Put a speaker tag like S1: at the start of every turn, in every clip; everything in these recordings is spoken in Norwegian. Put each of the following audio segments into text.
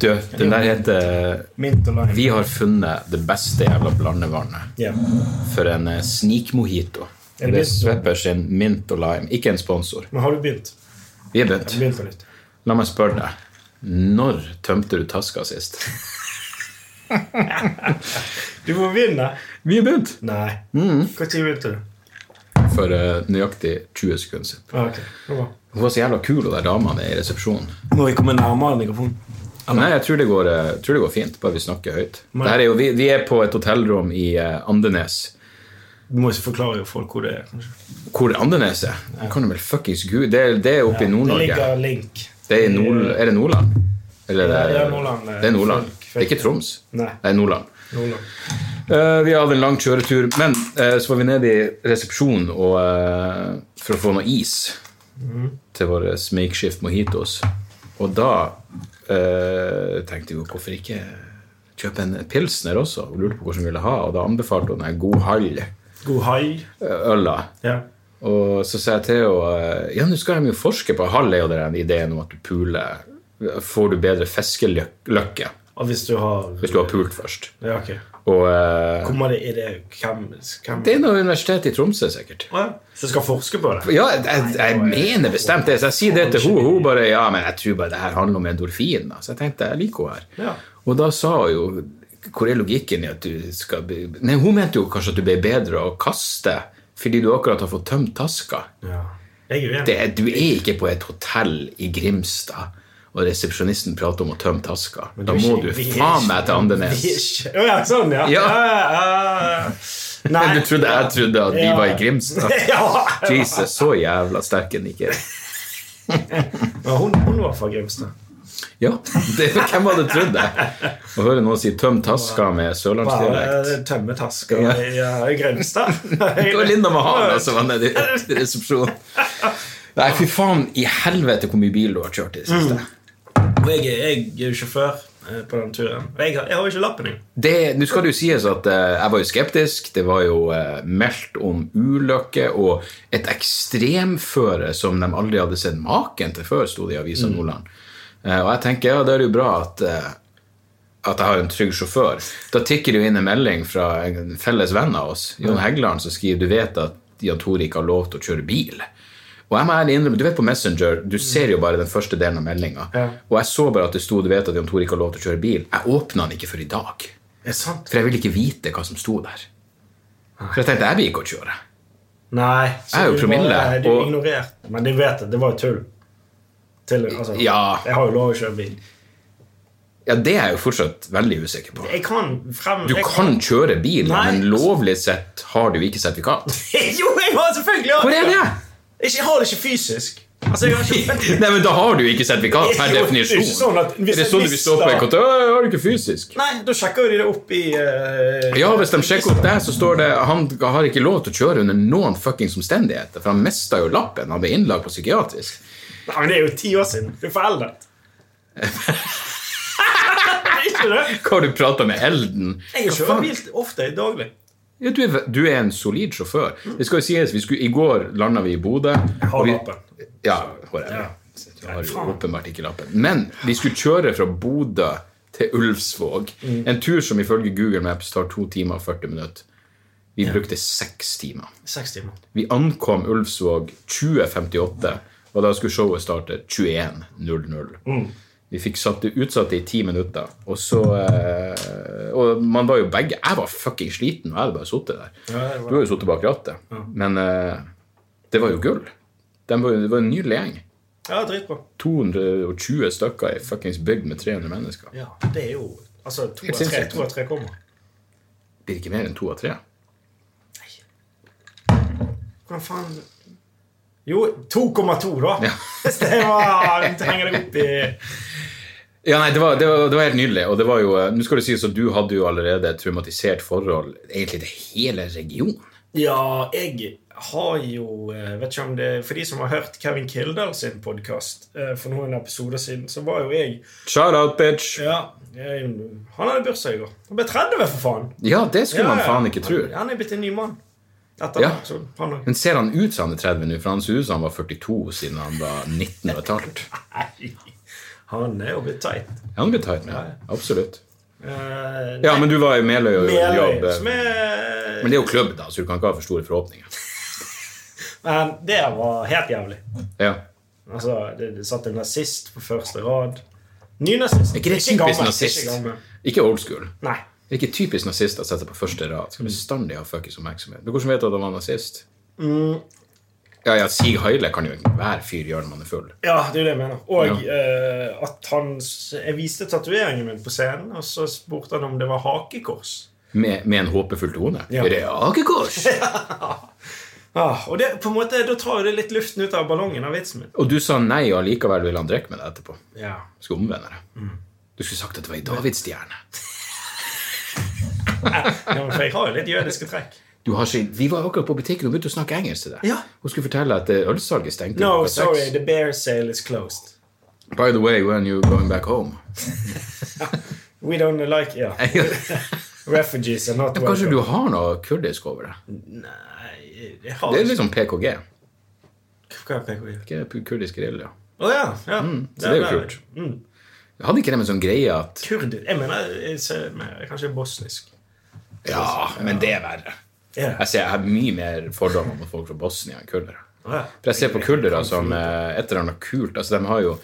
S1: Du, den der heter
S2: Mint og lime.
S1: Vi har funnet det beste jævla blandevannet
S2: Ja.
S1: for en eh, sneak-mojito.
S2: Er det
S1: Det er
S2: mint?
S1: Sveppers sin mint og lime. Ikke en sponsor.
S2: Men har du begynt?
S1: Vi er begynt.
S2: Har du begynt på nytt?
S1: La meg spørre deg. Når tømte du taska sist?
S2: Du får vinne.
S1: Vi er begynt!
S2: Nei.
S1: Mm.
S2: Når begynte du?
S1: For eh, nøyaktig 20 sekunder siden.
S2: Ah, ok. Det var bra.
S1: Hun var så jævla kul, hun der dama nede i resepsjonen.
S2: Må vi komme nærmere mikrofonen?
S1: Nei, jeg tror det, går, eh, jeg tror det går fint, bare vi snakker høyt. Det her er jo, vi, vi er på et hotellrom i eh, Andenes.
S2: Du må ikke forklare jo folk hvor det er. kanskje.
S1: Hvor er Andenes er? Jeg kan jo vel fuckings gud Det, er- det er oppe i
S2: Det
S1: Nord-Norge.
S2: ligger link.
S1: Det er, i Nord, er det Nordland? Eller
S2: Ja, det er Nordland, eh,
S1: Det er Nordland.
S2: folk-
S1: Det er ikke Troms.
S2: Nei.
S1: Det er Nordland.
S2: Nordland.
S1: Eh, vi hadde en lang kjøretur, men eh, så var vi nede i resepsjonen og, eh, for å få noe is
S2: Mhm.
S1: til våre makeshift mojitos. Og da eh, tenkte vi jo hvorfor ikke kjøpe en pilsner også? Og lurte på hvordan vi ville ha, og da anbefalte hun en god halv-øla.
S2: God hai. Ja.
S1: Og så sa jeg til henne eh, ja, nå skal de jo forske på halv, er jo den ideen om at du puler. Får du bedre fiskelykke
S2: Og hvis du har
S1: hvis du har pult først?
S2: Ja, ok.
S1: Og eh,
S2: Kommer det, er det hvem, hvem?
S1: det er noe universitet i Tromsø, sikkert.
S2: Ja, Så skal forske på det?
S1: Ja, jeg, jeg, jeg mener bestemt det. Så jeg sier det til henne. Hun bare Ja, men jeg tror bare det her handler om endorfin. da. Så jeg tenkte jeg liker henne her.
S2: Ja.
S1: Og da sa hun jo Hvor er logikken i at du skal bli Nei, hun mente jo kanskje at du ble bedre å kaste fordi du akkurat har fått tømt taska.
S2: Ja. Jeg er
S1: Det,
S2: uenig.
S1: du er ikke på et hotell i Grimstad. Og resepsjonisten prater om å tømme taska. Da må du
S2: Vi er
S1: faen meg
S2: ikke-
S1: til Andenes.
S2: vi er ikke- Å ja, sånn, ja.
S1: Ja.
S2: ja, ja. Nei.
S1: Men du trodde jeg trodde at vi
S2: Ja.
S1: var i Grimstad?
S2: Ja.
S1: Jesus, så jævla sterk en ikke er.
S2: Ja, hun, hun var fra Grimstad.
S1: Ja, det, hvem hadde trodd det? Å høre noen si 'tøm taska' med sørlandsdialekt.
S2: Bare eh, tømme tasker
S1: Ja.
S2: i ja, i Grimstad.
S1: Det var Linda Mahan som var nede i resepsjonen. Nei, fy faen i helvete hvor mye bil du har kjørt i det
S2: Mm.
S1: siste.
S2: Og jeg, er- jeg er jo sjåfør eh, på den turen. Og jeg, har- jeg har jo ikke lappen engang.
S1: Det- Nå skal det jo sies at eh, jeg var jo skeptisk. Det var jo eh, meldt om ulykker og et ekstremføre som de aldri hadde sett maken til før, sto det i Avisa Nordland. Eh, og jeg tenker ja, da er det jo bra at, eh, at jeg har en trygg sjåfør. Da tikker det jo inn en melding fra en felles venn av oss, Jon Heggeland, som skriver du vet at Jan Tore ikke har lov til å kjøre bil. Og jeg må ærlig innrømme, Du vet på Messenger, du ser jo bare den første delen av meldinga.
S2: Ja.
S1: Og jeg så bare at det sto du vet at Jan Tore ikke har lov til å kjøre bil. Jeg åpna den ikke før i dag.
S2: Er det sant?
S1: For jeg ville ikke vite hva som sto der. For jeg tenkte jeg blir ikke å kjøre.
S2: Nei. så
S1: Jeg er jo
S2: du
S1: promille,
S2: bare- Du
S1: og-
S2: ignorert. Men du vet det, det var jo tull. Til, altså,
S1: Ja.
S2: Jeg har jo lov å kjøre bil.
S1: Ja, Det er jeg jo fortsatt veldig usikker på.
S2: Jeg kan frem...
S1: Du
S2: jeg
S1: kan kjøre bil,
S2: Nei.
S1: men lovlig sett har du ikke sertifikat.
S2: jo, jeg har selvfølgelig
S1: Hvor er det?
S2: Jeg har det ikke fysisk. Altså, jeg har ikke...
S1: Nei, men Da har du ikke sertifikat per
S2: Det er jo ikke
S1: definisjon.
S2: sånn at hvis
S1: er det
S2: jeg
S1: sånn du vil stå på
S2: mister-
S1: en konto? «Å, Har du ikke fysisk?
S2: Nei, da sjekker jo de det opp i eh,
S1: Ja, Hvis de sjekker opp deg, så står det han har ikke lov til å kjøre under noen fuckings omstendigheter. For han mista jo lappen. Han ble innlagt på psykiatrisk.
S2: Nei, men Det er jo ti år siden. Du er foreldet. ikke det?
S1: Hva har du prata med Elden?
S2: Jeg
S1: Hva
S2: kjører
S1: faen?
S2: bil ofte daglig.
S1: Ja, du, er, du er en solid sjåfør. Det skal jo sies, vi skulle, I går landa vi i Bodø. og
S2: Mm. Har
S1: vi-
S2: lappen.
S1: Ja, whatever.
S2: Ja.
S1: Du har jo
S2: Faen.
S1: åpenbart ikke lappen. Men vi skulle kjøre fra Bodø til Ulvsvåg.
S2: Mm.
S1: En tur som ifølge Google Maps tar 2 timer og 40 minutter. Vi brukte 6 timer.
S2: Seks timer.
S1: Vi ankom Ulvsvåg 20.58, og da skulle showet starte 21.00.
S2: Mm.
S1: Vi fikk satt det utsatt i ti minutter, og så eh, Og man var jo begge Jeg var fucking sliten, og jeg hadde bare sittet der.
S2: det var-
S1: Du har jo sittet bak rattet. Men eh, det var jo gull. De var, det var en nydelig gjeng.
S2: Ja, dritbra.
S1: 220 stykker i fuckings bygd med 300 mennesker.
S2: Ja, det er jo Altså, to av tre,
S1: sinnssykt.
S2: to av tre kommer.
S1: Blir ikke mer enn to av tre.
S2: Hvordan faen Jo, 2,2, da. det var Du henger deg opp i
S1: Ja, nei, det var, det, var, det var helt nydelig. Og det var jo, eh, nå skal det sies at du hadde jo allerede et traumatisert forhold egentlig til hele regionen.
S2: Ja, jeg har jo eh, vet ikke om det, For de som har hørt Kevin Kildahl sin podkast for noen episoder siden, så var jo jeg
S1: Shout out, bitch!
S2: Ja, jeg, Han hadde bursdag i går. Han ble 30, for faen!
S1: Ja, det skulle
S2: Ja,
S1: man
S2: ja.
S1: faen ikke tro.
S2: Han, han er blitt en ny mann. Etter
S1: Ja.
S2: den episoden. Han òg.
S1: Men ser han ut som han er 30 nå? For han ser ut som han var 42 siden han var 19 og et halvt.
S2: Han er jo blitt teit.
S1: Han blir tight med. Absolutt.
S2: Eh,
S1: Ja, men du var i Meløy og gjorde
S2: Meløy,
S1: jobb.
S2: som er
S1: Men det er jo klubb, da, så du kan ikke ha for store forhåpninger.
S2: Men det var helt jævlig.
S1: Ja.
S2: Altså, det, det satt en nazist på første rad. Ny nazist.
S1: Er ikke det typisk
S2: gammel,
S1: nazist?
S2: Ikke gammel.
S1: Ikke old school.
S2: Nei.
S1: Det er ikke typisk nazist å sette på første rad. Skal bestandig ha fuckings oppmerksomhet. Men hvordan vet du at han var nazist?
S2: Mm.
S1: Ja, ja, Sig Heile kan jo enhver fyr gjøre når man er full.
S2: Ja, det er jo det jeg mener. Og eh, at han s- Jeg viste tatoveringen min på scenen, og så spurte han om det var hakekors.
S1: Med, med en håpefull tone.
S2: Ja.
S1: Er det hakekors?
S2: Ah, og det, på en måte, da tar jo det litt luften ut av ballongen av vitsen min.
S1: Og du sa nei, og allikevel ville han drikke med deg etterpå.
S2: Ja.
S1: Du skulle omvende deg.
S2: Mm.
S1: Du skulle sagt at det var ei davidsstjerne.
S2: ja, men For jeg har jo litt jødiske trekk.
S1: Du har ikke, vi var akkurat på butikken og begynte å snakke engelsk til deg.
S2: Ja.
S1: Hun skulle fortelle at eh, ølsalget stengte.
S2: No,
S1: klokka seks.
S2: sorry, the bear sale is closed.
S1: By the way, when you going back home?
S2: We don't like yeah. Refugees are not
S1: Kanskje
S2: welcome.
S1: du har noe kurdisk over deg?
S2: Nei, jeg har
S1: Det er liksom PKG.
S2: Hva er PKI?
S1: Ikke pu- kurdisk guerilla.
S2: Å ja. ja.
S1: Mm, Så det er jo
S2: der.
S1: kult. Hadde ikke dem en sånn greie at
S2: Kurder Jeg mener jeg ser mer, kanskje bosnisk.
S1: Ja, men det er verre.
S2: Ja.
S1: Jeg, ser, jeg har mye mer fordommer mot folk fra Bosnia enn kurdere.
S2: Å, ja.
S1: For jeg ser på kurdere som eh, et eller annet kult. Altså, de har jo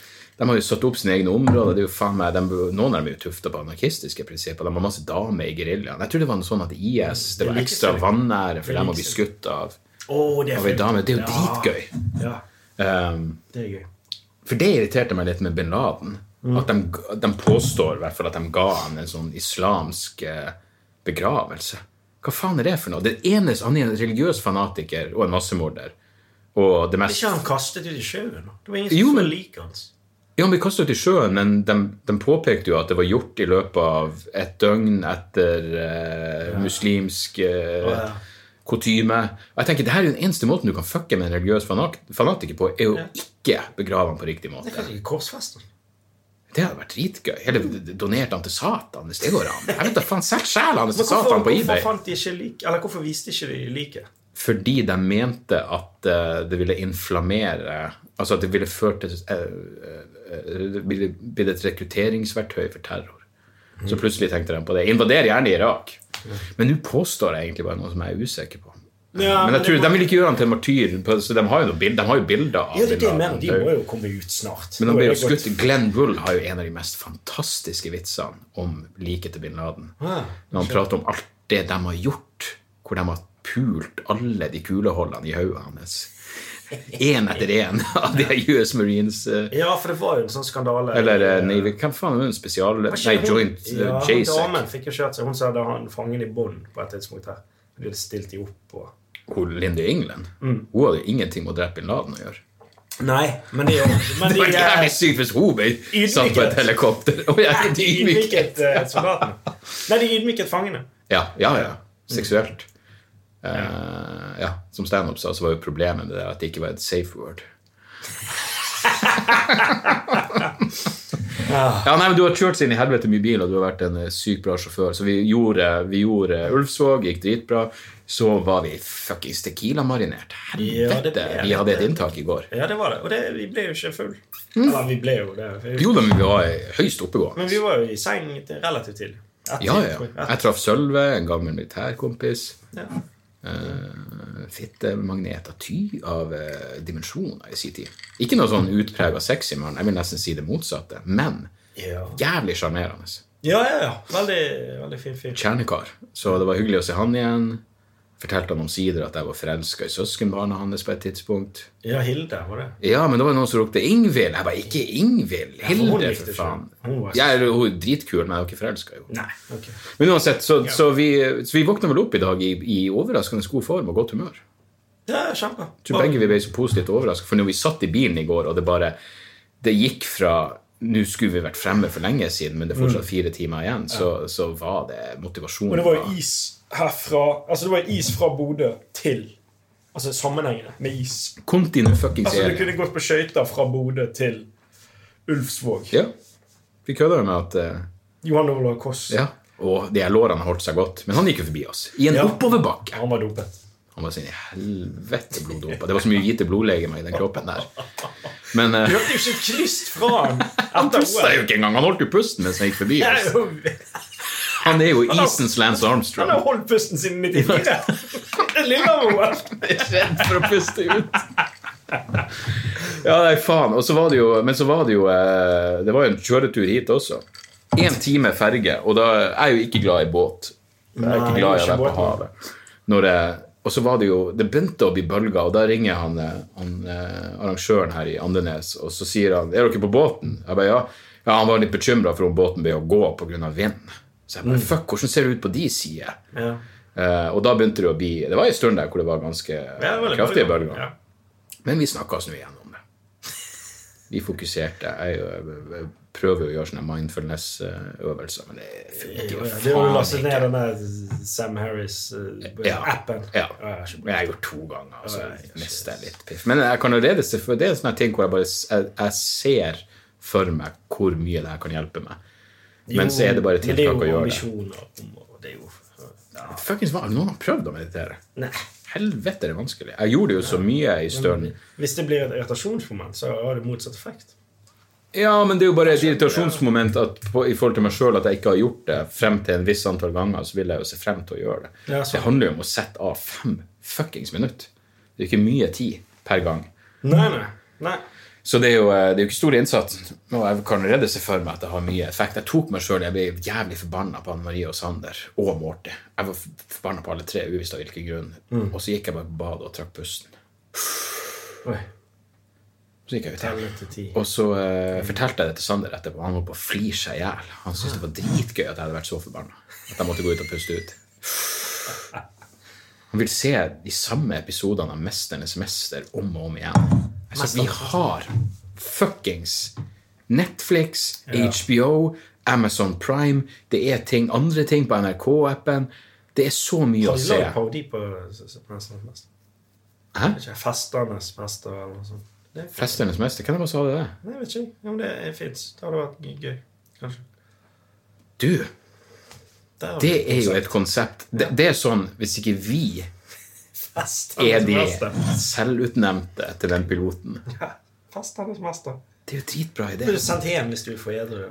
S1: de har jo satt opp sine egne områder. Det er jo faen meg, de, noen av dem er jo tufta på anarkistiske prinsipper. De har masse damer i geriljaen. Jeg tror det var noe sånn at IS det var
S2: liker
S1: ekstra
S2: seg.
S1: vanære for dem å bli
S2: liker
S1: skutt av,
S2: Å, det er
S1: av ei
S2: fint.
S1: dame. Det er jo
S2: Ja.
S1: dritgøy.
S2: Ja,
S1: Um,
S2: det er gøy.
S1: for det irriterte meg litt med bin Laden.
S2: Mm.
S1: At de, de påstår i hvert fall at de ga han en sånn islamsk eh, begravelse. Hva faen er det for noe? Den ene, han er en religiøs fanatiker og en massemorder. Og det mest
S2: Ikke han kastet ut i sjøen? da? Det var ingen
S1: Jo,
S2: som
S1: men-
S2: så lik hans.
S1: Ja, han ble kastet ut i sjøen, men de, de påpekte jo at det var gjort i løpet av et døgn etter eh, muslimsk eh,
S2: Ja.
S1: kutyme. Og jeg tenker, det her er jo den eneste måten du kan fucke med en religiøs fanat fanatiker på, er jo ikke begrave han på riktig
S2: Det er
S1: måte.
S2: kanskje ikke korsfesten.
S1: Det hadde vært dritgøy. Eller d- donert han til Satan, hvis det går an. Jeg vet da faen, Selg sjela hans
S2: Men
S1: til
S2: hvorfor,
S1: Satan på
S2: hvorfor
S1: eBay.
S2: fant de ikke lik, Eller hvorfor viste ikke de liket?
S1: Fordi de mente at eh, det ville inflammere Altså at det ville ført til eh, eh, Det ville blitt et rekrutteringsverktøy for terror. Så
S2: Mm.
S1: plutselig tenkte de på det. Invader gjerne Irak. Men nå påstår jeg egentlig bare noe som jeg er usikker på.
S2: Ja,
S1: men
S2: men
S1: jeg tror,
S2: det-
S1: De vil ikke gjøre han til martyr, på- så de har jo, noe bild, de har jo bilder av
S2: Ja, det er det jeg
S1: Bin
S2: mener.
S1: Laden.
S2: De
S1: Det er jo-
S2: må jo komme ut snart.
S1: Men han
S2: Nå
S1: ble
S2: er
S1: jo
S2: det
S1: skutt.
S2: gått-
S1: Glenn Wool har jo en av de mest fantastiske vitsene om liket til bin Laden.
S2: Ah,
S1: Når han prater om alt det de har gjort, hvor de har pult alle de kuleholdene i hodet hans. Én etter én av de her US Marines eh,
S2: Ja, for det var jo en sånn skandale.
S1: Eller eh, Navy Hvem faen er hun spesial...
S2: Var ikke
S1: Nei,
S2: hun-
S1: Joint eh,
S2: ja, hun
S1: JSAC.
S2: Damen fikk jo kjørt seg. Hun sa det var en fangen i bånd på et tidspunkt her. De hadde stilt de opp og
S1: Hun Lindy England.
S2: Mm.
S1: Hun hadde jo ingenting med å drepe bin Laden å gjøre.
S2: Nei, men de, men
S1: Det
S2: de
S1: var
S2: eh,
S1: jævlig sykt hvis hun ble satt på et helikopter! Og jeg
S2: de
S1: ydmyket!
S2: ydmyket eh, soldatene. Nei, de ydmyket fangene.
S1: Ja, ja,
S2: Mm.
S1: ja. Seksuelt. Eh, ja, Som standup sa, så var jo problemet med det at det ikke var et safe word.
S2: Ah.
S1: ja, nei, men Du har kjørt seg inn i helvete mye bil, og du har vært en eh, sykt bra sjåfør. Så vi gjorde, vi gjorde Ulvsvåg, gikk dritbra. Så var vi fuckings Tequila-marinert.
S2: Ja, det
S1: Helvete!
S2: ble
S1: vi hadde et
S2: det.
S1: inntak i går.
S2: Ja, det var det. Og det, vi ble jo ikke full.
S1: Mm.
S2: Eller vi ble jo det. Vi-
S1: Jo da, men vi var eh, høyst oppegående.
S2: Men vi var jo i seng til relativt tidlig. Ett
S1: Ja,
S2: tid,
S1: ja.
S2: tror jeg.
S1: Jeg traff Sølve, en gammel militærkompis.
S2: Ja.
S1: Uh, Fittemagneter ty av eh, dimensjoner i sin tid. Ikke noe sånn utprega sexy mann, jeg vil nesten si det motsatte. Men
S2: Ja.
S1: jævlig sjarmerende.
S2: ja, ja, ja. Veldig, veldig fin fyr.
S1: Kjernekar. Så det var hyggelig å se han igjen. Fortalte han omsider at jeg var forelska i søskenbarna hans på et tidspunkt.
S2: Ja, Hilde var det.
S1: Ja, men da var det noen som ropte 'Ingvild'. Jeg bare 'Ikke Ingvild'.
S2: for hun
S1: Hilde,
S2: likte
S1: for
S2: ikke
S1: faen.
S2: hun. Hun var-
S1: Jeg er jo dritkul, men jeg er jo ikke forelska i henne.
S2: Nei. ok.
S1: Men uansett, så, så, vi, så vi våkna vel opp i dag i, i overraskende god form og godt humør.
S2: Ja, kjempe.
S1: Jeg tror begge vi ble så positivt overrasket, for når vi satt i bilen i går, og det bare Det gikk fra Nå skulle vi vært fremme for lenge siden, men det er fortsatt fire timer igjen, så, så var det motivasjonen.
S2: Og Mm. det var jo is herfra Altså, det var jo is fra Bodø til Altså sammenhengende med is.
S1: Continue fucking
S2: Altså, du
S1: serie.
S2: kunne gått på skøyter fra Bodø til Ulfsvåg.
S1: Ja. Vi kødda jo med at eh,
S2: Johan Olav Koss.
S1: Ja. Og de her lårene holdt seg godt. Men han gikk jo forbi oss. I en
S2: Ja.
S1: oppoverbakke.
S2: Han var dopet.
S1: Han bare sier helvete bloddåper. Det var så mye hvite blodlegemer i den kroppen der. Men eh,
S2: Du hørte jo ikke et knyst fra han
S1: han
S2: etter
S1: pusta jo
S2: OL.
S1: ikke engang! Han holdt jo pusten mens han gikk forbi
S2: Jeg
S1: oss.
S2: er jo-
S1: Han er jo
S2: har-
S1: isens Lance
S2: Han har
S1: Armstrong.
S2: holdt pusten siden 94. Det lille OL.
S1: Redd for å puste ut. Ja, nei, faen. Og så var det jo, men så var det jo eh, Det var jo en kjøretur hit også. Én time ferge, og da jeg er jo ikke glad i båt. Jeg er
S2: Nei,
S1: ikke glad i å
S2: ikke
S1: være på
S2: båt, nei.
S1: havet. Når jeg, og så var det jo Det begynte å bli bølger, og da ringer han, eh, han eh, arrangøren her i Andenes, og så sier han 'Er dere på båten?' Jeg bare, ja. ja han var litt bekymra for om båten ble å gå pga. vind. Så jeg
S2: Mm.
S1: bare, fuck, hvordan ser det ut på de sider?
S2: Ja.
S1: Eh, og da begynte det å bli Det var en stund der hvor det var ganske
S2: Ja, det var litt
S1: kraftige
S2: bra.
S1: bølger.
S2: Ja.
S1: Men vi snakka oss nå igjennom det. Vi fokuserte. Jeg, eh, prøver jo å gjøre sånne mindfulness-øvelser, men det funker
S2: Jo,
S1: jo
S2: ja, Det er jo å
S1: faen
S2: laste
S1: ikke.
S2: ned den der Sam eh, Harris-appen.
S1: Ja. Jeg har gjort to ganger, og så mister jeg litt piff. Men jeg kan allerede se for det er en sånn her ting hvor jeg bare s- jeg, jeg ser for meg hvor mye det her kan hjelpe meg. Men så er det bare tiltak å gjøre det.
S2: det. og Det er jo ja.
S1: Fuckings hva, Noen har prøvd å meditere.
S2: Nei.
S1: Helvete, det er vanskelig. Jeg gjorde det jo så mye i stund.
S2: Hvis det blir et irritasjonsmoment, så har det motsatt effekt.
S1: Ja, men det er jo bare et irritasjonsmoment at på, i forhold til meg sjøl at jeg ikke har gjort det frem til en viss antall ganger, så vil jeg jo se frem til å gjøre det.
S2: Ja, sant.
S1: det handler jo om å sette av fem fuckings minutter. Det er jo ikke mye tid per gang.
S2: Nei, nei. nei.
S1: Så det er jo, eh, det er jo ikke stor innsats. Og jeg kan allerede se for meg at det har mye effekt. Jeg tok meg sjøl, jeg ble jævlig forbanna på Anne Marie og Sander og Morty. Jeg var forbanna på alle tre, uvisst av hvilken grunn. Og så gikk jeg bare på badet og trakk pusten.
S2: Oi.
S1: Så gikk jeg ut igjen.
S2: Telle til ti.
S1: Og så eh, fortalte jeg det til Sander etterpå. Han var på å flire seg i hjel. Han syntes det var dritgøy at jeg hadde vært så forbanna. At jeg måtte gå ut og puste ut. Han vil se de samme episodene av 'Mesternes mester' om og om igjen. Altså, vi har fuckings Netflix, HBO, Amazon Prime Det er ting, andre ting på NRK-appen. Det er så mye å
S2: Har de
S1: se.
S2: lagd parodi på Mesternes mester?
S1: Hæ?
S2: Vet ikke, Festernes mester eller noe sånt? Det,
S1: 'Festernes mester'? Hvem var det som hadde det?
S2: nei, vet ikke. Ja, men det fins. Det hadde vært g- gøy. Kanskje.
S1: Du!
S2: Der har
S1: Det
S2: vi
S1: er jo et konsept. Det, det er sånn, hvis ikke vi er
S2: Festernes
S1: de
S2: mester.
S1: selvutnevnte til den piloten
S2: Ja, Festernes mester.
S1: Det er jo dritbra idé.
S2: Blir du sendt hjem hvis du får edru?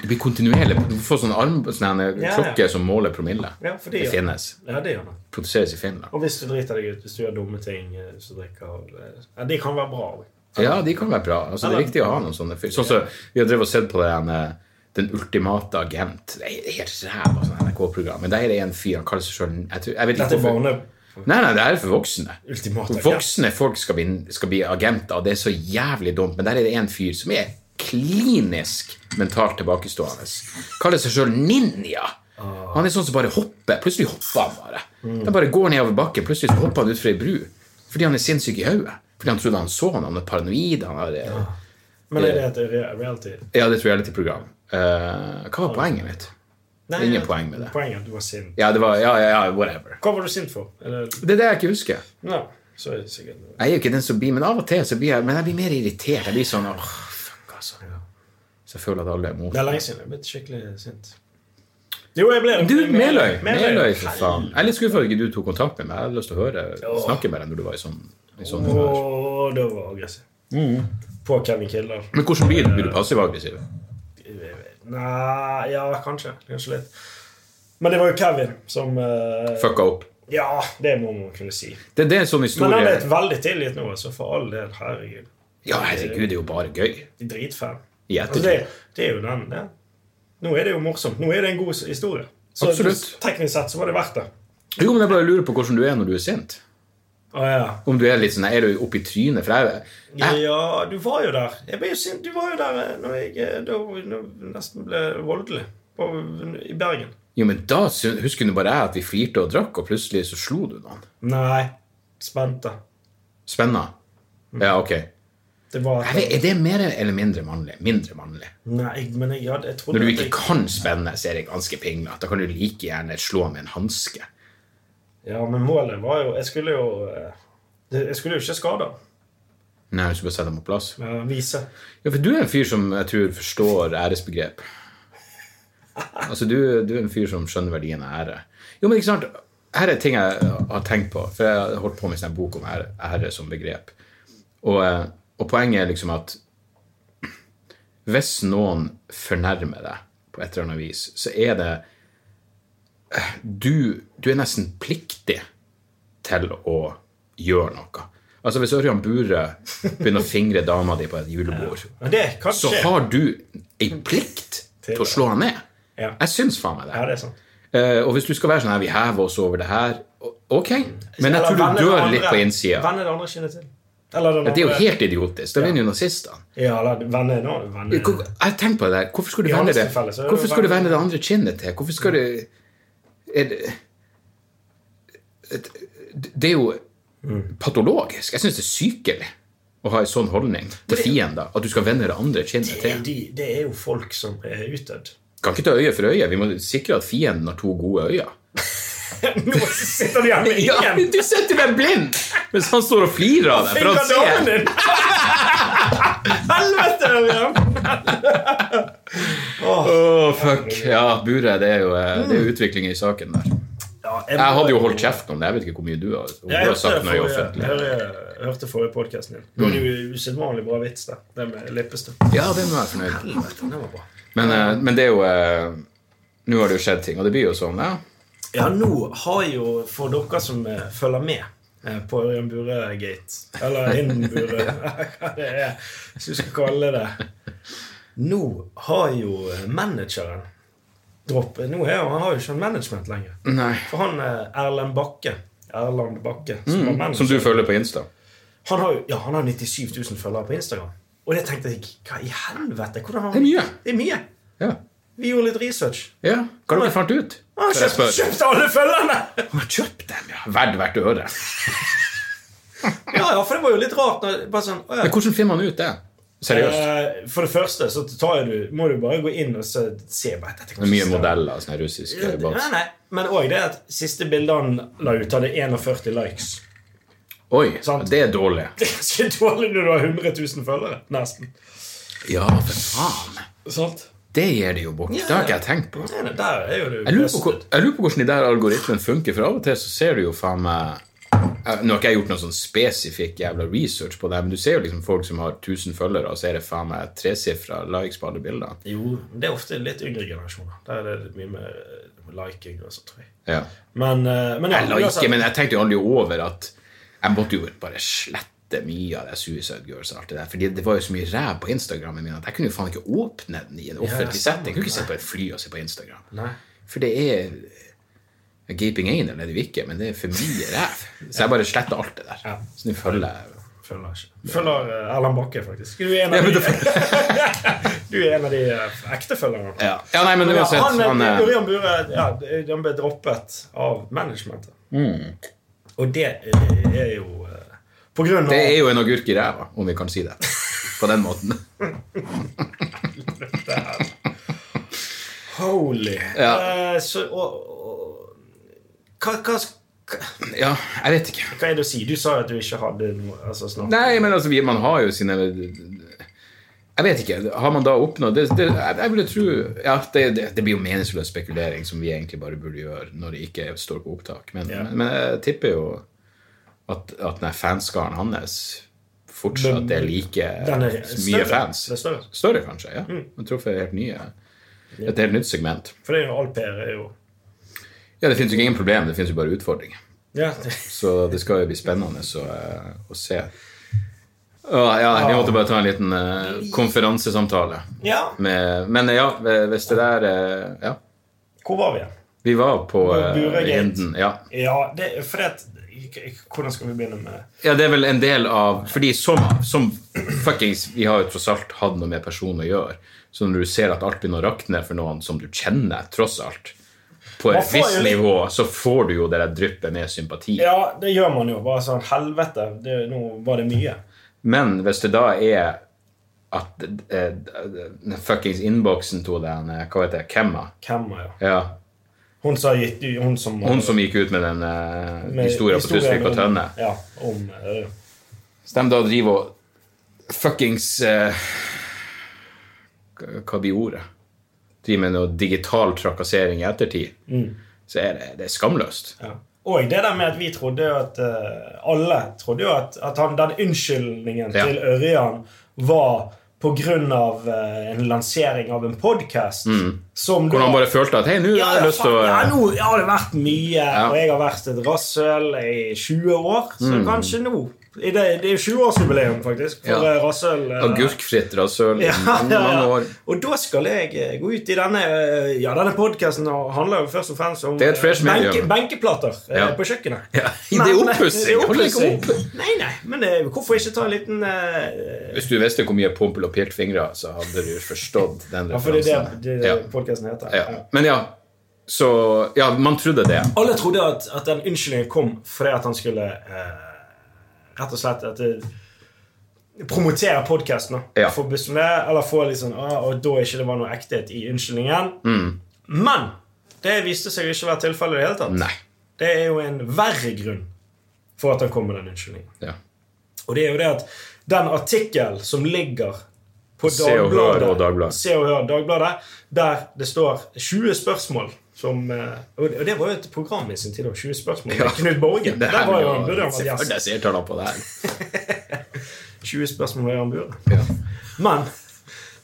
S1: Det blir kontinuerlig. Du får sånne, arm, sånne
S2: Ja, ja.
S1: klokker som måler promille.
S2: Ja, for det
S1: Det
S2: gjør-
S1: finnes.
S2: Ja, det gjør det.
S1: Produseres i Finland.
S2: Og hvis du driter deg ut, hvis du gjør dumme ting eh, så drikker eh, ja, Det kan være bra. også.
S1: Ja, de kan være bra. Altså, det er viktig å ha noen sånne. fyr. Sånn som vi har drevet og sett på den, eh, den ultimate agent. Det er helt ræva sånn NRK-program. Men der er det en fyr, han kaller seg sjøl jeg, tror- jeg vet ikke
S2: Dette er
S1: hvorfor.
S2: barne...
S1: Nei, nei, det her er for voksne.
S2: Ultimate agent.
S1: voksne folk skal bli, skal bli agenter, og det er så jævlig dumt. Men der er det en fyr som er klinisk mentalt tilbakestående. Kaller seg sjøl ninja. Han er sånn som bare hopper. Plutselig hopper han bare. Han bare går nedover bakken, plutselig så hopper han utfor ei bru. Fordi han er sinnssyk i hodet. Fordi han trodde han så han, han er paranoid. Han er, ja.
S2: Men er det et re- reality?
S1: det er et reality-program. Eh, hva var poenget mitt?
S2: Nei,
S1: Ingen
S2: ja,
S1: poeng med det.
S2: Poenget er at du var sint.
S1: Ja, det var Ja, ja, ja, whatever.
S2: Hva var du sint for? Eller,
S1: Det er det jeg ikke husker.
S2: nei, så er det sikkert noe.
S1: Jeg er jo ikke den som blir, men av og til så blir jeg, men jeg blir mer irritert. Jeg blir sånn åh, fuck, altså. Så jeg føler at alle er imot.
S2: Det er lenge siden jeg ble skikkelig sint. Jo, jeg ble det.
S1: Du,
S2: Meløy.
S1: Meløy! Meløy, for faen. Jeg er litt skuffa at ikke du tok kontakt med meg. Jeg hadde lyst til å høre snakke med deg når du var i sånn, i sånn Mm. humør.
S2: Å, det var aggressiv. På Kevin Kildahl.
S1: Men hvordan blir du? Blir du passiv-aggressiv?
S2: Nei, ja, kanskje. Kanskje litt. Men det var jo Kevin som eh,
S1: Fucka opp.
S2: Ja, det må man kunne si.
S1: Det, det er en sånn
S2: Men han
S1: historie
S2: er et veldig tilgitt nå, så for all del, herregud.
S1: Ja, herregud, det er jo bare gøy.
S2: De er Dritfan.
S1: I
S2: Altså,
S1: ettertid.
S2: det, det er jo den, det. Nå er det jo morsomt. Nå er det en god s- historie. Så
S1: Absolutt.
S2: teknisk sett så var det verdt det.
S1: Jo, men jeg bare lurer på hvordan du er når du er sint.
S2: Å ja.
S1: Om du er litt sånn Er du oppi trynet? For jeg,
S2: Ja,
S1: jeg
S2: ja, du var jo der. Jeg ble jo sint. Du var jo der eh, når jeg eh, da, når jeg nesten ble voldelig på, i Bergen.
S1: Jo, men da syn- husker du bare jeg at vi flirte og drakk, og plutselig så slo du noen.
S2: Nei. Spente.
S1: Spenna.
S2: Mm.
S1: Ja, ok.
S2: Det var
S1: Jeg vet, er det mer eller mindre mannlig? Mindre mannlig.
S2: Nei, jeg- men jeg, hadde- jeg trodde
S1: Når du
S2: at
S1: ikke kan spenne, så er det ganske pinglete. Da kan du like gjerne slå med en hanske.
S2: jeg, Ja, men målet var jo Jeg skulle jo eh, det- Jeg skulle jo ikke skade.
S1: Nei, hvis du bare setter dem på plass.
S2: eh, Vise.
S1: Ja, for du er en fyr som jeg tror forstår æresbegrep. Altså, du, du er en fyr som skjønner verdien av ære. Jo, men ikke sant? her er ting jeg har tenkt på, for jeg har holdt på med en sånn bok om ære, ære som begrep. Og, eh, og poenget er liksom at hvis noen fornærmer deg på et eller annet vis, så er det eh, Du, du er nesten pliktig til å gjøre noe. Altså Hvis Ørjan Bure begynner å fingre dama di på et julebord,
S2: Men det kan
S1: så
S2: skje.
S1: har du ei plikt til å slå han ned.
S2: Mm. Ja.
S1: Jeg syns faen meg det.
S2: Ja, det er sant.
S1: Eh, og hvis du skal være sånn her, vi hever oss over det her, o- ok. Men jeg
S2: Eller
S1: tror
S2: vende
S1: du
S2: det
S1: dør
S2: andre-
S1: litt på innsida.
S2: Vende det andre kinnet til. Eller den andre.
S1: Det er jo helt idiotisk. Da vinner jo nazistene.
S2: Ja, eller vende nå. Vende.
S1: Hvor- Jeg tenker på det der. Hvorfor skulle du
S2: I
S1: vende
S2: hans
S1: det
S2: tilfelle så er det
S1: Hvorfor
S2: jo
S1: skal du
S2: vende-
S1: vende det andre kinnet til? Hvorfor skal du er det, det er jo
S2: Mm.
S1: patologisk. Jeg syns det er sykelig å ha en sånn holdning til fiender. At du skal vende det andre kinnet
S2: Det er
S1: til.
S2: jo de, det er jo folk som er utdødd.
S1: Kan ikke ta øye for øye. Vi må sikre at fienden har to gode øyne.
S2: Nå sitter de her med
S1: Ja,
S2: igjen!
S1: du setter meg blind! Mens han står og flirer av deg. For
S2: Fingre
S1: han ser
S2: damen din! Helvete! Ørjan! Åh,
S1: Åh, fuck. Ja, Bure, det er jo eh, det er jo utviklingen i saken der.
S2: ja,
S1: Jeg hadde jo holdt kjeft om det. Jeg vet ikke hvor mye du har, om du
S2: Jeg
S1: har
S2: hørte
S1: sagt noe i
S2: forrige,
S1: offentlig. Mm.
S2: hørte- hørte forrige podkasten din. Du hadde jo usedvanlig bra vits der. Den med leppestift.
S1: Ja, det må jeg være fornøyd med.
S2: Helvete, den var bra.
S1: Men, eh, men det er jo eh, Nå har det jo skjedd ting, og det blir jo sånn, ja.
S2: Ja, nå har jo, for dere som eh, følger med eh, på Ørjan Bure-gate, eller innen Bure, hva det er, hvis du skal kalle det Nå har jo eh, manageren droppet Nå er han, han har jo ikke en management lenger.
S1: Nei.
S2: For han eh, Erlend Bakke, Erland Bakke, som var manager
S1: Mm, Som du følger på Insta.
S2: han har, jo- ja, han har 97 000 følgere på Instagram. Og det tenkte jeg, hva i helvete? Hvordan har han...
S1: Det er mye.
S2: Det er mye.
S1: Ja.
S2: Vi gjorde litt research.
S1: ja. Hva har dere fant ut?
S2: Han har
S1: Så jeg
S2: kjøpt,
S1: spør.
S2: kjøpt alle følgerne!
S1: Han har kjøpt dem, ja. Verd hvert øre.
S2: Ja, ja, for det var jo litt rart. Når, bare sånn, å ja.
S1: Men hvordan finner man ut det? Seriøst.
S2: Eh, For det første så tar jeg du, må du bare gå inn og så se bare, dette kan
S1: Det er
S2: ikke
S1: mye
S2: stemme.
S1: modeller, sånne russiske
S2: Ja, Nei,
S1: bots.
S2: nei. Men òg det at siste bildet han la ut, hadde 41 likes.
S1: Oi,
S2: Sant.
S1: det er dårlig.
S2: Det er ganske dårlig når du har 100 000 følgere. Nesten.
S1: Ja, for faen.
S2: Sant?
S1: Det gir det jo bort.
S2: Ja,
S1: Det har ikke
S2: ja.
S1: jeg tenkt på.
S2: Nei, nei, der er jo du
S1: Jeg lurer, på, hvor- jeg lurer på hvordan de der algoritmene funker, for av og til så ser du jo faen meg Eh, Nå har ikke jeg gjort noe sånn spesifikk jævla research på det, men du ser jo liksom folk som har 1000 følgere, og så er det faen meg tresifra likes på alle bildene.
S2: Jo, det er ofte litt yngre generasjoner. Der er det mye mer eh, liking og sånn, tror jeg.
S1: Ja.
S2: Men, eh, men ja,
S1: Jeg la ikke, men jeg tenkte jo aldri over at jeg måtte jo bare slette mye av det Suicide Girls og alt det der, fordi det var jo så mye ræv på Instagrammen min at jeg kunne jo faen ikke åpne den i en offentlig
S2: stemmer.
S1: setting. Jeg kunne ikke se på et fly og se på Instagram.
S2: Nei.
S1: For det er Gaping anal er det jo ikke, men det er for mye ræv. Så jeg bare sletter alt det der.
S2: Ja.
S1: Så nå følger jeg
S2: Følger ikke. Følger eh, Erlend Bakke, faktisk. Du er en av de, du er en av de eh, ekte følgerne.
S1: ja. ja, nei, men
S2: Ja,
S1: uansett
S2: han,
S1: han, eh,
S2: Ørjan Bure ja, den ble droppet av managementet.
S1: Mm.
S2: Og det eh, er jo eh, på grunn av
S1: Det er jo en agurk i ræva, om vi kan si det på den måten.
S2: Holy!
S1: Ja.
S2: Eh, så, og, og, hva, hva, hva
S1: Ja, jeg vet ikke.
S2: hva er det å si? Du sa jo at du ikke hadde noe altså, snart.
S1: Nei, men altså, vi- man har jo sine Jeg vet ikke. Har man da oppnådd det, det, jeg, jeg ville tro ja, det, det, det blir jo meningsløs spekulering som vi egentlig bare burde gjøre når det ikke står på opptak. Men,
S2: Ja.
S1: men, men jeg tipper jo at, at den her fanskaren hans fortsatt er like
S2: Den er
S1: mye
S2: større. Mm.
S1: fans.
S2: Det er større.
S1: Større, kanskje. ja. Man truffer helt nye. Et helt nytt segment.
S2: For det er jo all PR er jo
S1: Ja, Det fins jo ingen problem, det fins jo bare utfordringer.
S2: ja.
S1: Så det skal jo bli spennende å, eh, å se. Å, ja, vi måtte bare ta en liten eh, konferansesamtale.
S2: ja.
S1: Med, men eh, ja, hvis det der eh, Ja.
S2: Hvor var vi igjen?
S1: Vi var på eh,
S2: Buregate.
S1: Hinden. Ja.
S2: Ja, det, for det at Hvordan skal vi begynne med
S1: ja, det er vel en del av Fordi som, som fuckings Vi har jo tross alt hatt noe med personen å gjøre. Så når du ser at alt begynner å rakne for noen som du kjenner, tross alt, på
S2: Man
S1: et
S2: får
S1: visst
S2: jo litt-
S1: nivå, så får du jo det der dryppet med sympati.
S2: Ja, det gjør man jo. Bare sånn Helvete, det, nå var det mye.
S1: Men hvis det da er at eh, den fuckings innboksen til den eh, Hva heter det? Kemma?
S2: Hvem er jo
S1: Ja.
S2: Hun som har gitt ut Hun som,
S1: Hun som gikk ut med den eh,
S2: med
S1: historien på
S2: historien
S1: Tusvik og
S2: om-
S1: Tønne.
S2: Ja, om eh,
S1: Så de da driver og fuckings eh, Hva hva blir ordet?
S2: Mm.
S1: Driver med noe digital trakassering i ettertid. Så er det, det er skamløst.
S2: ja. Og det der med at vi trodde jo at eh, Alle trodde jo at, at han, den unnskyldningen
S1: Ja.
S2: til Ørjan var på grunn av eh, en lansering av en podkast som
S1: Mm. Hvor
S2: da-
S1: han bare følte at hei, nå
S2: ja,
S1: har jeg lyst til å
S2: faen, ja, nå har det vært mye,
S1: Ja. Mm.
S2: og jeg har vært et rasshøl i 20 år, så kanskje nå i det, det er jo 20-årsjubileum, faktisk, for
S1: Ja.
S2: eh, rasshøl. eh,
S1: Agurkfritt rasshøl i
S2: ja, ja,
S1: mange
S2: ja.
S1: år.
S2: Og da skal jeg eh, gå ut i denne eh, Ja, denne podkasten handler jo først og fremst om
S1: Det er et fresh
S2: eh,
S1: medium.
S2: benkeplater eh,
S1: Ja.
S2: på kjøkkenet.
S1: Ja, i
S2: Men- eh,
S1: det er
S2: det
S1: oppussing.
S2: er
S1: Hold deg ikke
S2: oppussing.
S1: opp.
S2: Nei, nei, men eh, hvorfor ikke ta en liten eh,
S1: Hvis du visste hvor mye pompel og piltfingre, så hadde du forstått den
S2: Ja, for det er
S1: referansen.
S2: det, det
S1: Ja,
S2: podkasten heter.
S1: ja. Men ja, så Ja, man trodde det.
S2: Alle trodde at, at den unnskyldningen kom fordi at han skulle eh, rett og slett at det, promotere podkasten.
S1: Ja.
S2: Få buss med, eller få litt sånn ah, Og da ikke det var noe ekthet i unnskyldningen.
S1: Mm.
S2: Men det viste seg jo ikke å være tilfellet i det hele tatt.
S1: Nei.
S2: Det er jo en verre grunn for at han kom med den unnskyldningen.
S1: Ja.
S2: Og det er jo det at den artikkel som ligger på
S1: Se og Hør
S2: Dagbladet,
S1: og Dagbladet.
S2: Se og Hør Dagbladet, der det står 20 spørsmål som eh, Og det og det var jo et program i sin tid, også, 20 spørsmål med Knut Borge.
S1: Det
S2: Der
S1: her
S2: var jo
S1: var-
S2: han burde han vært
S1: Se for
S2: gjest.
S1: deg seertallene på det her.
S2: 20 spørsmål med Jan Bure.
S1: Ja.
S2: Men,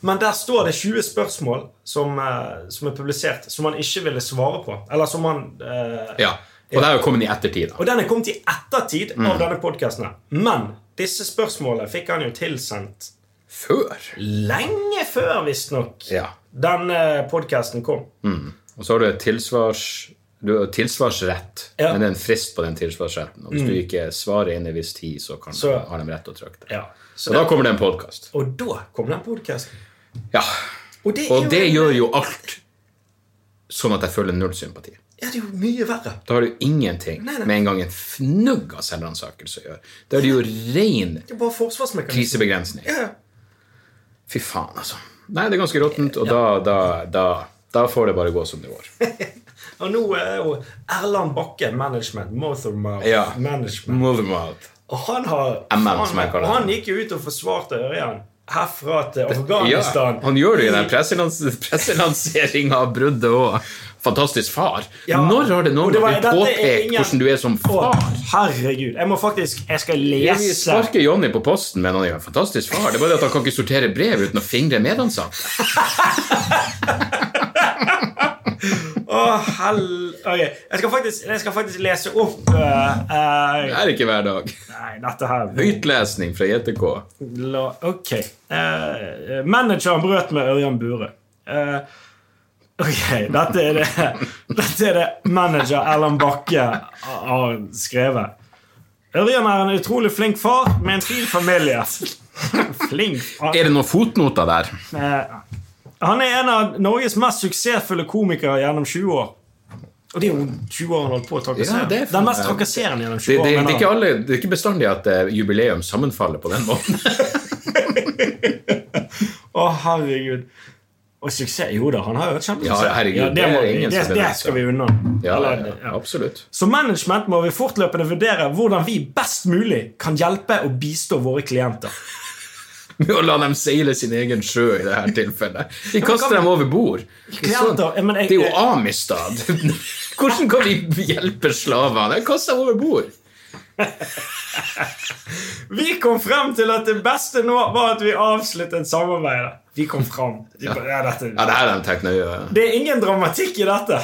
S2: men der står det 20 spørsmål som, eh, som er publisert, som han ikke ville svare på. Eller som han eh,
S1: ja. Og det er jo kommet i ettertid, da.
S2: Og den er kommet i ettertid
S1: Mm.
S2: av denne podkasten. Men disse spørsmålene fikk han jo tilsendt
S1: Før.
S2: Lenge før, visstnok,
S1: Ja. Mm.
S2: den eh, podcasten kom.
S1: Og så har du et tilsvars... Du har tilsvarsrett,
S2: Ja. Mm.
S1: men det er en frist på den tilsvarsretten. Og hvis du ikke svarer innen en viss tid, så, kan,
S2: Så-
S1: har de rett til å trykke det.
S2: Ja. Så
S1: Og da
S2: det,
S1: kommer det en podkast.
S2: og da kom den podcasten.
S1: Ja.
S2: Og det,
S1: Og det
S2: er, jo,
S1: gjør jo alt sånn at jeg føler null sympati.
S2: ja, det er jo mye verre.
S1: Da har det jo ingenting
S2: Nei, nei.
S1: med en gang en fnugg av selvransakelse å gjøre. Da er det jo ren
S2: Det er bare forsvarsmekanisme.
S1: krisebegrensning.
S2: Ja, ja.
S1: Fy faen, altså. Nei, det er ganske råttent, og da, da, da, da får det bare gå som det går.
S2: Og nå er jo Erland Bakke management. Mothermouth
S1: Ja.
S2: management.
S1: Mothermouth.
S2: Og han har
S1: MM,
S2: han,
S1: som jeg kaller det.
S2: han gikk jo ut og forsvarte Ørjan herfra til
S1: Ja,
S2: Afghanistan.
S1: han gjør det i den presselans presselanseringa av bruddet òg. Fantastisk far.
S2: Ja.
S1: Når har det
S2: Og
S1: noen
S2: det var-
S1: gang blitt
S2: dette er
S1: påpekt
S2: ingen-
S1: hvordan du er som
S2: Å,
S1: far?
S2: herregud. Jeg må faktisk Jeg skal
S1: Vi
S2: lese
S1: sparker Jonny på posten, men han er jo en fantastisk far. Det er bare det at han kan ikke sortere brev uten å fingre medansatte.
S2: Å, hell... Ok, jeg skal faktisk, jeg skal faktisk lese opp eh, eh,
S1: Det er ikke hver dag.
S2: Nei, dette her
S1: Høytlesning fra JTK.
S2: La, Ok. Eh, manageren brøt med Ørjan Bure. Eh, ok, dette er det Dette er det manager Erland Bakke har skrevet. Ørjan er en utrolig flink far med en fin familie. flink far
S1: Er det noen fotnoter der?
S2: Eh, han er en av Norges mest suksessfulle komikere gjennom 20 år. Og det er jo 20 år han holdt på å trakassere.
S1: Ja, det er for-
S2: Den mest trakasserende gjennom 20
S1: Det, det,
S2: år.
S1: det,
S2: mener
S1: er
S2: han.
S1: ikke alle, det er ikke bestandig at eh, jubileum sammenfaller på den måten.
S2: Å, herregud. Og suksess Jo da, han har jo et kjempesuksess.
S1: Ja, herregud,
S2: det,
S1: det
S2: må,
S1: er
S2: vi-
S1: ingen
S2: det,
S1: som
S2: det
S1: benekter.
S2: skal vi unna.
S1: Ja, ja,
S2: Eller,
S1: ja, absolutt.
S2: Som management må vi fortløpende vurdere hvordan vi best mulig kan hjelpe og bistå våre klienter.
S1: Med å la dem seile sin egen sjø i det her tilfellet. Vi kaster dem over bord. Sånn.
S2: Klienter, jeg, men jeg,
S1: Det er jo Amistad. Hvordan kan vi hjelpe slavene? Kast dem over bord.
S2: Vi kom frem til at det beste nå var at vi avsluttet samarbeidet. Vi kom frem. Vi bare, Ja, dette,
S1: Ja, det her er de tekna i øyet.
S2: Det er ingen dramatikk i dette.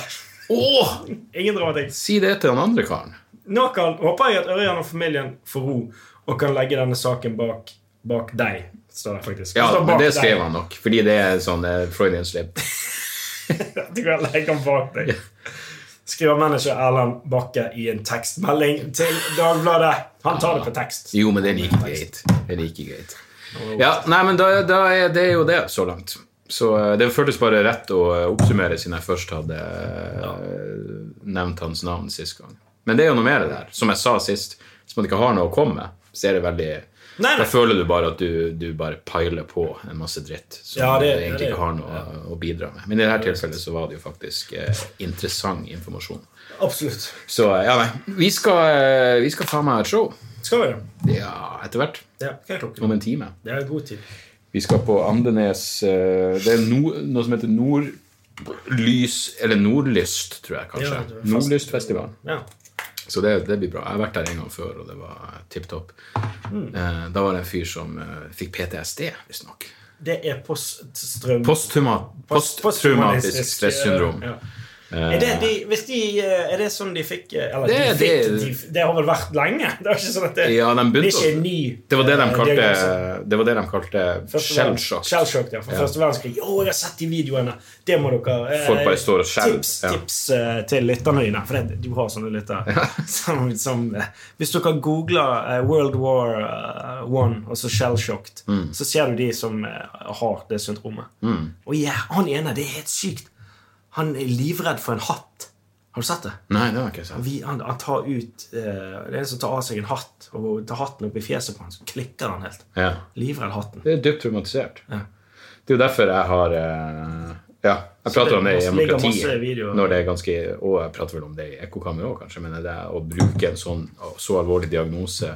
S1: Åh!
S2: Ingen dramatikk.
S1: Si det til den andre karen.
S2: Nå kan, håper jeg at Ørjan og familien får ro og kan legge denne saken bak, bak deg. Står det faktisk.
S1: Ja,
S2: står
S1: men
S2: bak
S1: det
S2: deg.
S1: skrev han nok, fordi det er sånn eh, Freudian slip.
S2: Du kan legge den bak deg. Skriver manager Erland Bakke i en tekstmelding til Dagbladet. Han tar det på tekst.
S1: Jo, men det er like greit. Det er like greit. Ja, nei, men da, da er det jo det, så langt. Så eh, det føltes bare rett å eh, oppsummere, siden jeg først hadde eh, nevnt hans navn sist gang. Men det er jo noe mer det der. Som jeg sa sist, hvis man ikke har noe å komme med, så er det veldig
S2: Nei,
S1: Da
S2: nei.
S1: føler du bare at du, du bare piler på en masse dritt som
S2: Ja, det-
S1: du egentlig
S2: det-
S1: ikke har noe å bidra med. Men i dette tilfellet så var det jo faktisk eh, interessant informasjon.
S2: Absolutt.
S1: Så eh, ja, nei. Vi skal, eh, vi skal faen meg ha et show.
S2: Skal vi det?
S1: Ja, etter hvert.
S2: Ja, hva er klokken?
S1: Om en time.
S2: Det er god tid.
S1: Vi skal på Andenes eh, Det er no, noe som heter Nordlys Eller Nordlyst, tror jeg
S2: Ja,
S1: kanskje.
S2: det er fest-
S1: Nordlystfestivalen.
S2: Ja.
S1: Så det, det blir bra. Jeg har vært der en gang før, og det var tipp topp.
S2: Hmm.
S1: Eh, da var det en fyr som eh, fikk PTSD, visstnok.
S2: Det er poststrøm...
S1: Posttrauma-
S2: post-
S1: Posttraumatisk
S2: posttraumatisk, eh,
S1: stressyndrom.
S2: ja. Er det, de, hvis de, eh, er det sånn de fikk eh, Eller
S1: Det-
S2: de fikk,
S1: det-
S2: det, de, det har vel vært lenge? Det er ikke sånn at det,
S1: Eh, Ja, de
S2: det er
S1: begynte
S2: ikke
S1: å-
S2: en ny
S1: Det var det de
S2: eh,
S1: kalte,
S2: diagnose.
S1: det var det de kalte
S2: Første verden-
S1: shellshock.
S2: Shellshock, ja. For første verdenskrig. Å, jeg har sett de videoene! Det må dere eh,
S1: Folk bare står og skjelver,
S2: Tips,
S1: ja.
S2: tips eh, til lytterne dine. For det, du har sånne lyttere. som, som, eh, hvis dere googler eh, World War eh, One og så shellshocked,
S1: Mm.
S2: så ser du de som eh, har det syndromet. Og ja, han ene, det er helt sykt. Han er livredd for en hatt. Har du sett det?
S1: Nei, det var ikke sant.
S2: Vi, han, han tar ut eh, Det er en som tar av seg en hatt, og tar hatten opp i fjeset på han, så klikker han helt.
S1: Ja.
S2: Livredd hatten.
S1: Det er dypt traumatisert. Det er jo derfor jeg har eh, Ja, jeg prater om det i
S2: det ligger masse
S1: demokratiet.
S2: videoer.
S1: Når det er ganske, og jeg prater vel om det i ekkokammeret òg, kanskje. Men det er å bruke en sånn så alvorlig diagnose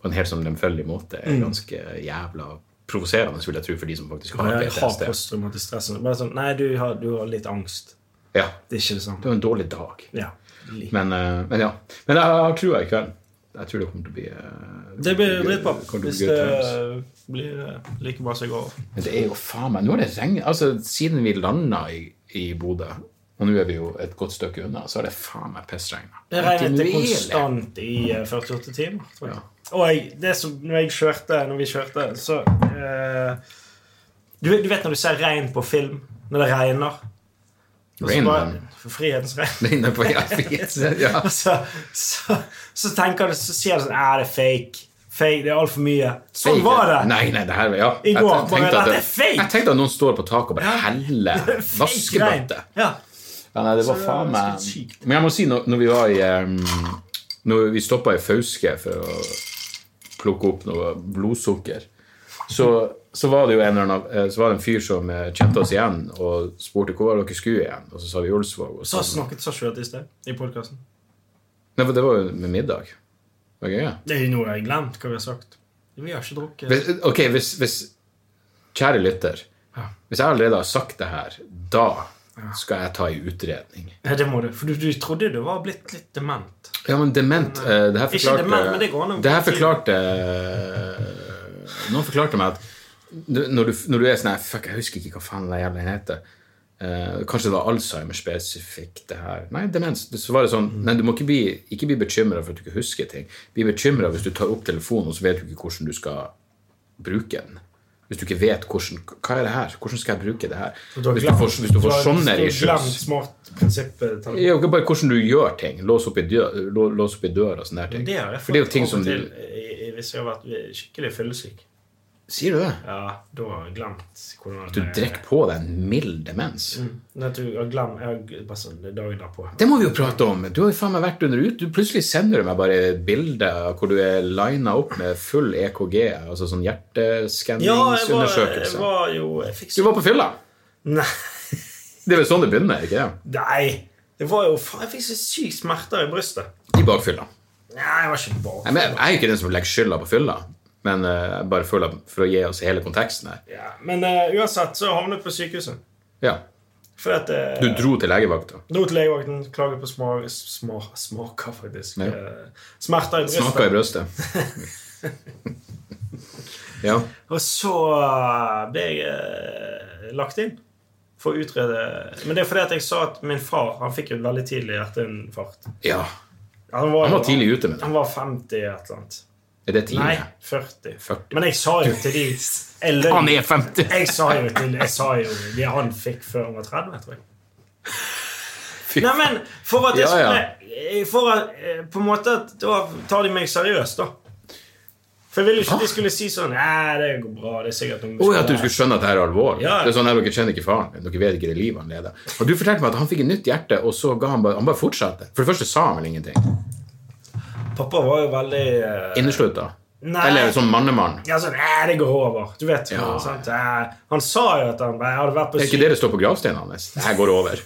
S1: på en helt sånn lemfeldig måte
S2: Mm.
S1: er ganske jævla provoserende, vil jeg tro, for de som faktisk har
S2: Ja, jeg har
S1: PTSD.
S2: posttraumatisk stress. Bare sånn, nei, du har, du har litt angst.
S1: Ja,
S2: Det er ikke det
S1: det
S2: samme.
S1: var en dårlig dag.
S2: Ja. li-
S1: Men, eh, men ja. Men jeg har trua i kveld. Jeg tror det kommer til å bli eh,
S2: Det blir
S1: kommer til
S2: dritbra
S1: å bli good
S2: hvis det
S1: times.
S2: blir eh, like bra som i går.
S1: Men det er jo faen meg Nå er det regn... Altså, siden vi landa i, i Bodø, og nå er vi jo et godt stykke unna, så har det faen meg pissregna.
S2: Det regnet det
S1: Kontinuerlig.
S2: konstant i eh, 48 timer. Tror jeg. Og jeg, det som, når, jeg kjørte, når vi kjørte, så eh, du, vet- du vet når du ser regn på film, når det regner? og så
S1: Rain
S2: Altså, bare-
S1: Man.
S2: For frihetens regn.
S1: Det er inne på ja, fjes, ja.
S2: Og så, så, så tenker du, så sier du sånn Ja, det er fake. Fake, Det er altfor mye. Sånn var det!
S1: Nei, nei, det her Ja.
S2: I går,
S1: Jeg- jeg
S2: bare,
S1: tenkte at
S2: dette
S1: det-
S2: er fake!
S1: Jeg tenkte at noen står på taket og bare heller
S2: Fake
S1: vaskebøtte.
S2: regn. Ja.
S1: Ja, nei,
S2: Så
S1: det var
S2: det var
S1: faen meg
S2: ganske sykt.
S1: Men jeg må si, når, når vi var i em, Når vi stoppa i Fauske for å plukke opp noe blodsukker, så, så var det jo en eller annen eh, Så var det en fyr som eh, kjente oss igjen og spurte hvor var dere skulle igjen, og så sa vi Olsvåg. Og
S2: Så
S1: så,
S2: snakket Sasha i sted, i podkasten.
S1: nei, for det var jo med middag. Var ikke det?
S2: Det er jo noe jeg har glemt hva vi har sagt. Vi har ikke drukket.
S1: Hvis, ok, hvis, hvis Kjære lytter.
S2: Ja.
S1: Hvis jeg allerede har sagt det her, da skal jeg ta en utredning.
S2: Nei, det må du, for du, du trodde du var blitt litt dement.
S1: Ja, men dement eh, Det her
S2: Ikke
S1: forklarte,
S2: dement, men det går an å-
S1: det her forklarte eh, Noen forklarte meg at du- når du, når du er sånn her Fuck, jeg husker ikke hva faen det jævla heter. Eh, kanskje det var Alzheimer spesifikt, det her. Nei, demens. Så var det sånn
S2: Mm.
S1: Nei, du må ikke bli, ikke bli bekymra for at du ikke husker ting. Bli bekymra hvis du tar opp telefonen, og så vet du ikke hvordan du skal bruke den. Hvis du ikke vet hvordan Hva er det her? Hvordan skal jeg bruke det her?
S2: Du har
S1: Hvis du
S2: glemt-
S1: får, hvis du får
S2: har-
S1: sånne
S2: du har
S1: issues
S2: Glemt smart prinsippet. Tom.
S1: ja, ikke bare hvordan du gjør ting. Lås opp i, dø- lå- lås opp i døra og sånne der ting.
S2: Det har jeg
S1: For det er jo
S2: fått
S1: ting
S2: av
S1: som
S2: og
S1: du
S2: til i- i- hvis jeg har vært skikkelig fyllesyk.
S1: Sier du det?
S2: Ja, da har jeg glemt hvordan Mm.
S1: Du drikker på deg en mild demens.
S2: Nei, du har glemt Jeg har bare sånn det er dagen derpå.
S1: Det må vi jo prate om! Du har jo faen meg vært under ut. Du Plutselig sender du meg bare et bilde av hvor du er lina opp med full EKG, altså sånn
S2: Ja, jeg var, jeg
S1: hjerteskanningsundersøkelse.
S2: var jo Jeg fikk
S1: Du var på fylla!
S2: Nei.
S1: Det er vel sånn det begynner, ikke det?
S2: Nei. Det var jo faen, Jeg fikk så sykt smerter i brystet.
S1: I bakfylla.
S2: Nei, jeg var ikke
S1: Nei,
S2: bak.
S1: men Jeg jeg er jo ikke den som legger skylda på fylla, men eh, jeg bare føler for å gi oss hele konteksten her.
S2: Ja, men eh, uansett så havnet jeg på sykehuset.
S1: Ja.
S2: For at eh,
S1: Du dro til legevakta.
S2: Dro til legevakten, klaget på smak, sma- smaker, faktisk.
S1: Ja.
S2: Eh, Smerter i brystet.
S1: Snakka i brøstet. ja.
S2: Og så eh, ble jeg eh, lagt inn for å utrede Men det er fordi at jeg sa at min far han fikk jo et veldig tidlig hjerteinfarkt.
S1: ja.
S2: Han var,
S1: Han var tidlig ute med det.
S2: Han var 50 eller et eller annet.
S1: Er det tidlig?
S2: Nei, 40.
S1: 40.
S2: Men jeg sa jo til de jeg løy.
S1: Han er 50!
S2: Jeg sa jo til jeg sa jo det han fikk før han var 30, tror jeg.
S1: Fy
S2: Nei, men for at jeg
S1: Ja, ja.
S2: skulle For at, eh, på en måte at Da tar de meg seriøst, da. For jeg ville jo ikke de skulle si sånn Nei, det går bra. Det er sikkert noen
S1: Oi, at du skulle skjønne at det her er alvorlig.
S2: Ja.
S1: Det er sånn at Dere kjenner ikke faren din. Dere vet ikke det livet han leder. Og Du fortalte meg at han fikk et nytt hjerte, og så ga han bare, han bare fortsatte. For det første sa han vel ingenting.
S2: Pappa var jo veldig eh,
S1: Inneslutta.
S2: Nei.
S1: Eller sånn mannemann.
S2: ja, sånn, Nei, det går over. Du vet jo.
S1: Ja.
S2: Sant? Eh, Han sa jo at han jeg hadde vært på
S1: Er ikke
S2: syk...
S1: det det står på gravsteinen hans? Det her går over.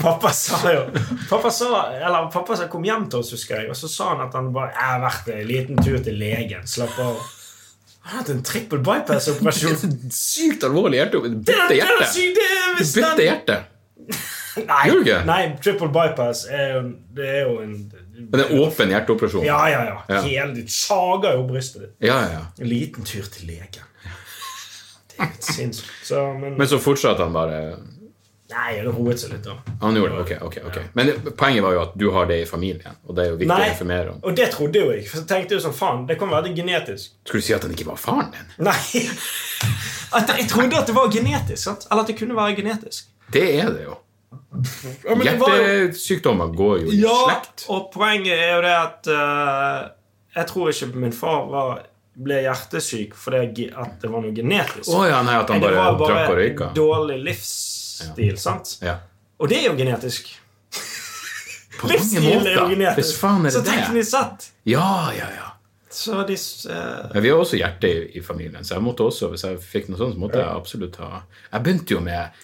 S2: Pappa sa jo Pappa sa, eller pappa sa, kom hjem til oss, husker jeg, og så sa han at han bare Jeg har vært en liten tur til legen. Slapp av. Han har hatt en trippel bypass-operasjon.
S1: Sykt alvorlig hjerte.
S2: Det er-
S1: Bytte
S2: det er
S1: hjerte.
S2: sykt, det er hvis den-
S1: Bytte hjerte.
S2: Nei,
S1: Gjør du ikke?
S2: nei, triple bypass er jo, det er jo en
S1: Men det er åpen hjerteoperasjon?
S2: Ja, ja, ja.
S1: Ja.
S2: Hele, du sager jo brystet ditt.
S1: ja, ja.
S2: En liten tur til legen. Det er helt sinnssykt. Så, men,
S1: Men så fortsatte han bare
S2: Nei, det roet seg litt, da.
S1: Han gjorde det, ok. ok, ok. Men det- poenget var jo at du har det i familien, og det er jo viktig å informere om.
S2: og det trodde jo jeg. For jeg tenkte jo sånn, faen, det kan være det genetisk.
S1: Skulle du si at han ikke var faren din?
S2: Nei! At jeg trodde at det var genetisk. sant? Eller at det kunne være genetisk.
S1: Det er det jo.
S2: Ja, men det var jo-
S1: Hjertesykdommer går jo i
S2: ja,
S1: slekt.
S2: og poenget er jo det at eh, jeg tror ikke min far var, ble hjertesyk fordi ge- at det var noe genetisk.
S1: Å ja, nei, at han
S2: Nei, det
S1: bare
S2: var
S1: drakk og
S2: bare
S1: røyka.
S2: dårlig livsstil, sant?
S1: Ja.
S2: Og det er jo genetisk.
S1: På mange
S2: Livsstil er jo
S1: måter.
S2: genetisk.
S1: Hvis faen er
S2: så
S1: det det?
S2: teknisk sett
S1: Ja, ja, ja.
S2: så de, s- eh,
S1: Men vi har også hjerte i, i familien, så jeg måtte også, hvis jeg fikk noe sånt, så måtte jeg absolutt ha Jeg begynte jo med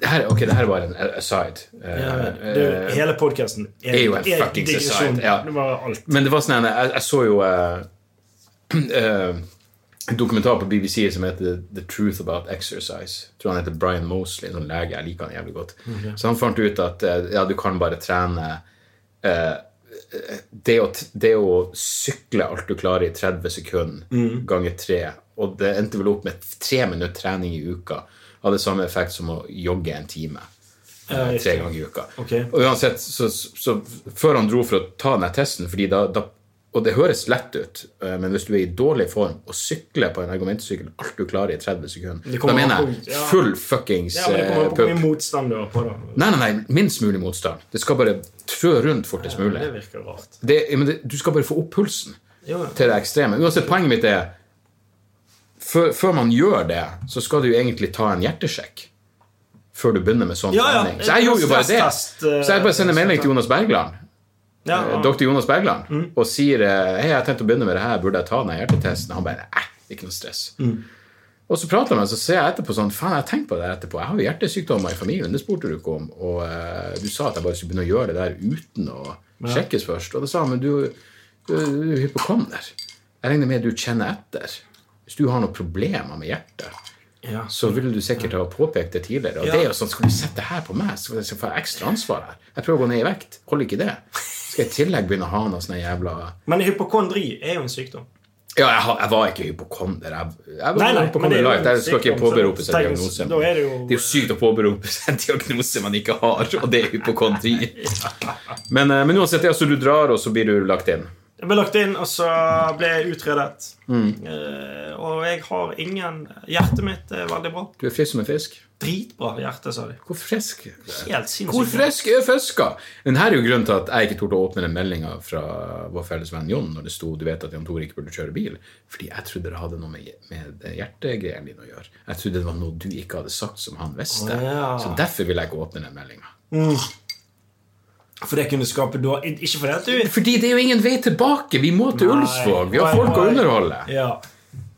S1: det her, Ok, det her var en aside. Eh,
S2: det er jo- Hele podkasten
S1: er jo en fucking society, ja.
S2: Det var alt.
S1: Men det var sånn en- Jeg, jeg så jo eh, eh, en dokumentar på BBC som heter The Truth About Exercise. Jeg tror han heter Brian Mosley, en sånn lege. Jeg liker han jævlig godt. Så han fant ut at eh, ja, du kan bare trene eh, det, å, t- det å sykle alt du klarer i 30 sekunder
S2: Mm.
S1: ganger tre, og det endte vel opp med tre minutter trening i uka, hadde samme effekt som å jogge en time
S2: Ja,
S1: eh, tre
S2: riktig.
S1: ganger i uka.
S2: Ok.
S1: Og uansett, så, så, så før han dro for å ta denne testen, fordi da, da og det høres lett ut, eh, men hvis du er i dårlig form og sykler på en argumentsykkel alt du klarer i 30 sekunder,
S2: Det
S1: da
S2: kommer
S1: mener
S2: an på-
S1: jeg
S2: ja.
S1: full fuckings
S2: Ja, men det kommer
S1: eh,
S2: an på hvor
S1: pupp.
S2: mye motstand du har på det.
S1: Nei, nei, nei, minst mulig motstand. Det skal bare trø rundt fortest mulig.
S2: Det virker rart.
S1: Det, ja, men det, du skal bare få opp pulsen
S2: Jo, ja.
S1: til det ekstreme. Uansett, poenget mitt er før, før man gjør det, så skal du jo egentlig ta en hjertesjekk. Før du begynner med sånn
S2: Ja, ja.
S1: trening. Så jeg gjorde jo bare det.
S2: Stresstest, eh,
S1: Så jeg bare sender melding til Jonas Bergland,
S2: Ja,
S1: eh,
S2: ja.
S1: doktor Jonas Bergland, og sier eh, Hei, jeg har tenkt å begynne med det her, burde jeg ta den her hjertetesten? Han bare Æh, ikke noe stress. Og så prater man, så ser jeg etterpå sånn Faen, jeg har tenkt på det her etterpå. Jeg har jo hjertesykdommer i familien, det spurte du ikke om. Og eh, du sa at jeg bare skulle begynne å gjøre det der uten å sjekkes først. Og da sa han, men du, du, du er hypokonder. Jeg regner med du kjenner etter. Hvis du har noen problemer med hjertet,
S2: Ja.
S1: så ville du sikkert ha påpekt det tidligere. Og
S2: Ja.
S1: det er jo sånn, Skal du sette det her på meg, så skal jeg få ekstra ansvar her. Jeg prøver å gå ned i vekt. Holder ikke det. Skal jeg i tillegg begynne å ha noe sånn jævla
S2: Men hypokondri er jo en sykdom.
S1: Ja, jeg, har- jeg var ikke hypokonder. Jeg, jeg var
S2: Nei, nei, men
S1: hypokonder
S2: det er jo
S1: light. Jeg
S2: en
S1: skal ikke
S2: sykdom, så
S1: påberope seg
S2: tenk-
S1: diagnose.
S2: da er det jo-
S1: det er jo sykt å påberope seg en diagnose man ikke har, og det er hypokondri. Men, eh, men uansett, altså, du drar, og så blir du lagt inn.
S2: Jeg ble lagt inn, og så ble jeg utredet.
S1: Mm.
S2: Eh, og jeg har ingen Hjertet mitt er veldig bra.
S1: Du er frisk som en fisk.
S2: Dritbra hjerte, sa de.
S1: Hvor frisk
S2: Helt sinnssykt.
S1: Hvor frisk er fiska? Men her er jo grunnen til at jeg ikke torde å åpne den meldinga fra vår felles venn Jon når det sto du vet at Jan Tore ikke burde kjøre bil, fordi jeg trodde det hadde noe med, med hjertegreiene dine å gjøre. Jeg trodde det var noe du ikke hadde sagt som han visste.
S2: Å, ja.
S1: Så derfor ville jeg ikke åpne den meldinga.
S2: For det kunne skape da Ikke for det at du
S1: Fordi det er jo ingen vei tilbake. Vi må til Ulsvåg. Vi har
S2: Nei,
S1: folk å
S2: nei.
S1: underholde.
S2: Ja.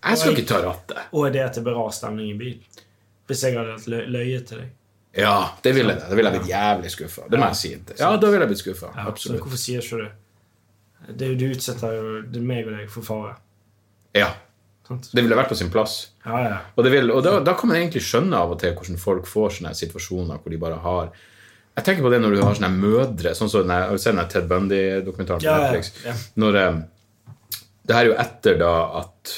S1: Jeg skal ikke ta rattet.
S2: Og det at det ble rar stemning i bilen. Hvis jeg hadde hatt lø- løyet til deg.
S1: Ja, det ville jeg. Da ville jeg blitt jævlig skuffa. Det må jeg si. Ja, da ville jeg blitt skuffa.
S2: Ja, Så
S1: Absolutt.
S2: hvorfor sier ikke du det? det? Du utsetter jo det er meg og deg for fare.
S1: Ja.
S2: Sant?
S1: Det ville vært på sin plass.
S2: Ja, ja.
S1: Og, det vil, og da, da kan man egentlig skjønne av og til hvordan folk får sånne situasjoner hvor de bare har Jeg tenker på det når du har sånne mødre sånn som den her- Har du sett den her Ted Bundy-dokumentaren på
S2: Ja, ja,
S1: Netflix?
S2: ja.
S1: Når eh, Det her er jo etter da at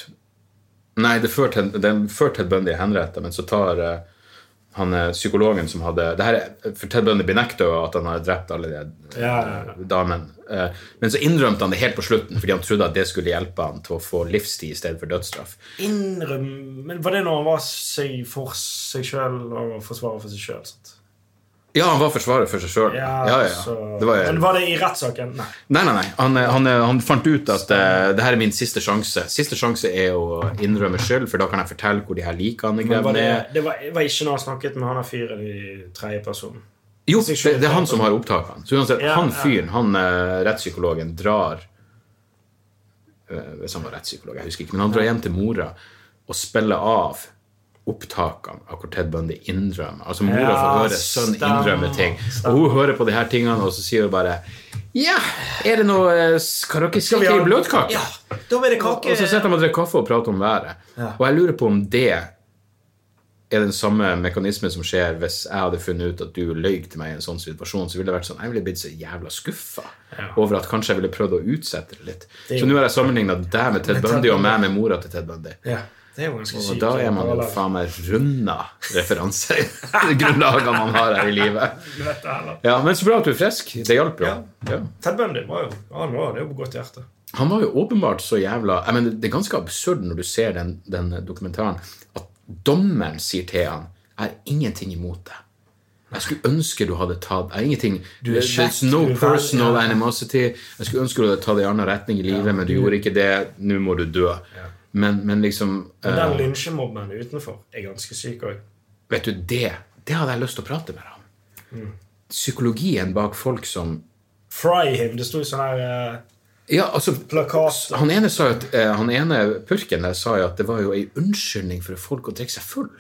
S1: Nei, det er før Ted, det er før Ted Bundy er henrettet, men så tar eh, han eh, psykologen som hadde det her er, For Ted Bundy benekter jo at han har drept alle de eh,
S2: Ja, ja, ja.
S1: damene. Eh, Men så innrømte han det helt på slutten fordi han trodde at det skulle hjelpe han til å få livstid i stedet for dødsstraff.
S2: Innrøm Men var det når han var seg for seg sjøl og forsvarer for seg sjøl?
S1: Ja, han var forsvarer for seg sjøl. Ja, ja, ja.
S2: så-
S1: Det var,
S2: Men var det i rettssaken? Nei.
S1: nei, nei, nei. Han, eh, han, eh, han fant ut at eh, det her er min siste sjanse. Siste sjanse er å innrømme skyld, for da kan jeg fortelle hvor de her likene
S2: Men var
S1: grevene
S2: det,
S1: er.
S2: det var, var ikke når han snakket med han der fyren i tredje person.
S1: Jo, det, det er han som har opptakene. Så uansett,
S2: Ja,
S1: han
S2: ja.
S1: fyren, han eh, rettspsykologen, drar eh, Hvis han var rettspsykolog, jeg husker ikke, men han drar hjem til mora og spiller av opptakene av hvor Ted Bundy innrømmer. Altså mora
S2: Ja,
S1: får høre sønnen
S2: stemmer,
S1: innrømme ting. Og
S2: stemmer.
S1: hun hører på de her tingene, og så sier hun bare Ja, er det noe eh, Skal dere stikke i bløtkake?
S2: Ja, da blir det
S1: Og så sitter
S2: kake.
S1: han og drikker kaffe og prater om været.
S2: Ja.
S1: Og jeg lurer på om det er den samme mekanismen som skjer hvis jeg hadde funnet ut at du løy til meg i en sånn situasjon, så ville det vært sånn, jeg ville blitt så jævla skuffa
S2: Ja.
S1: over at kanskje jeg ville prøvd å utsette det litt.
S2: Det er
S1: så
S2: jo-
S1: nå har jeg sammenligna deg med Ted
S2: Med Ted
S1: Bundy og
S2: Bundy.
S1: meg med mora til Ted Bundy.
S2: Ja, det er jo ganske
S1: Og
S2: sykt.
S1: da er man jo
S2: Parallell.
S1: faen meg runda referansegrunnlagene man har her i livet.
S2: Du vet det heller.
S1: Ja, Men så bra at du er frisk. Det hjalp jo. Ja.
S2: Ted Bundy var jo han var, det er jo på godt hjerte.
S1: Han var jo åpenbart så jævla jeg mener, Det er ganske absurd når du ser den, den dokumentaren, at dommeren sier til han Jeg har ingenting imot det. Jeg skulle ønske du hadde tatt jeg har ingenting,
S2: Du er
S1: There's
S2: kjekk,
S1: no
S2: du er vel-
S1: personal
S2: ja.
S1: animosity. Jeg skulle ønske du hadde tatt det i annen retning i livet, men du gjorde ikke det. Nå må du dø. Men, men liksom
S2: Men den
S1: eh,
S2: lynsjemobben utenfor er ganske syk òg.
S1: Vet du, det, det hadde jeg lyst til å prate med deg om.
S2: Mm.
S1: Psykologien bak folk som
S2: Fry him. Det sto i sånn her eh,
S1: Ja, altså
S2: plakat
S1: Han ene, sa jo at, eh, han ene purken der sa jo at det var jo ei unnskyldning for folk å drikke seg full.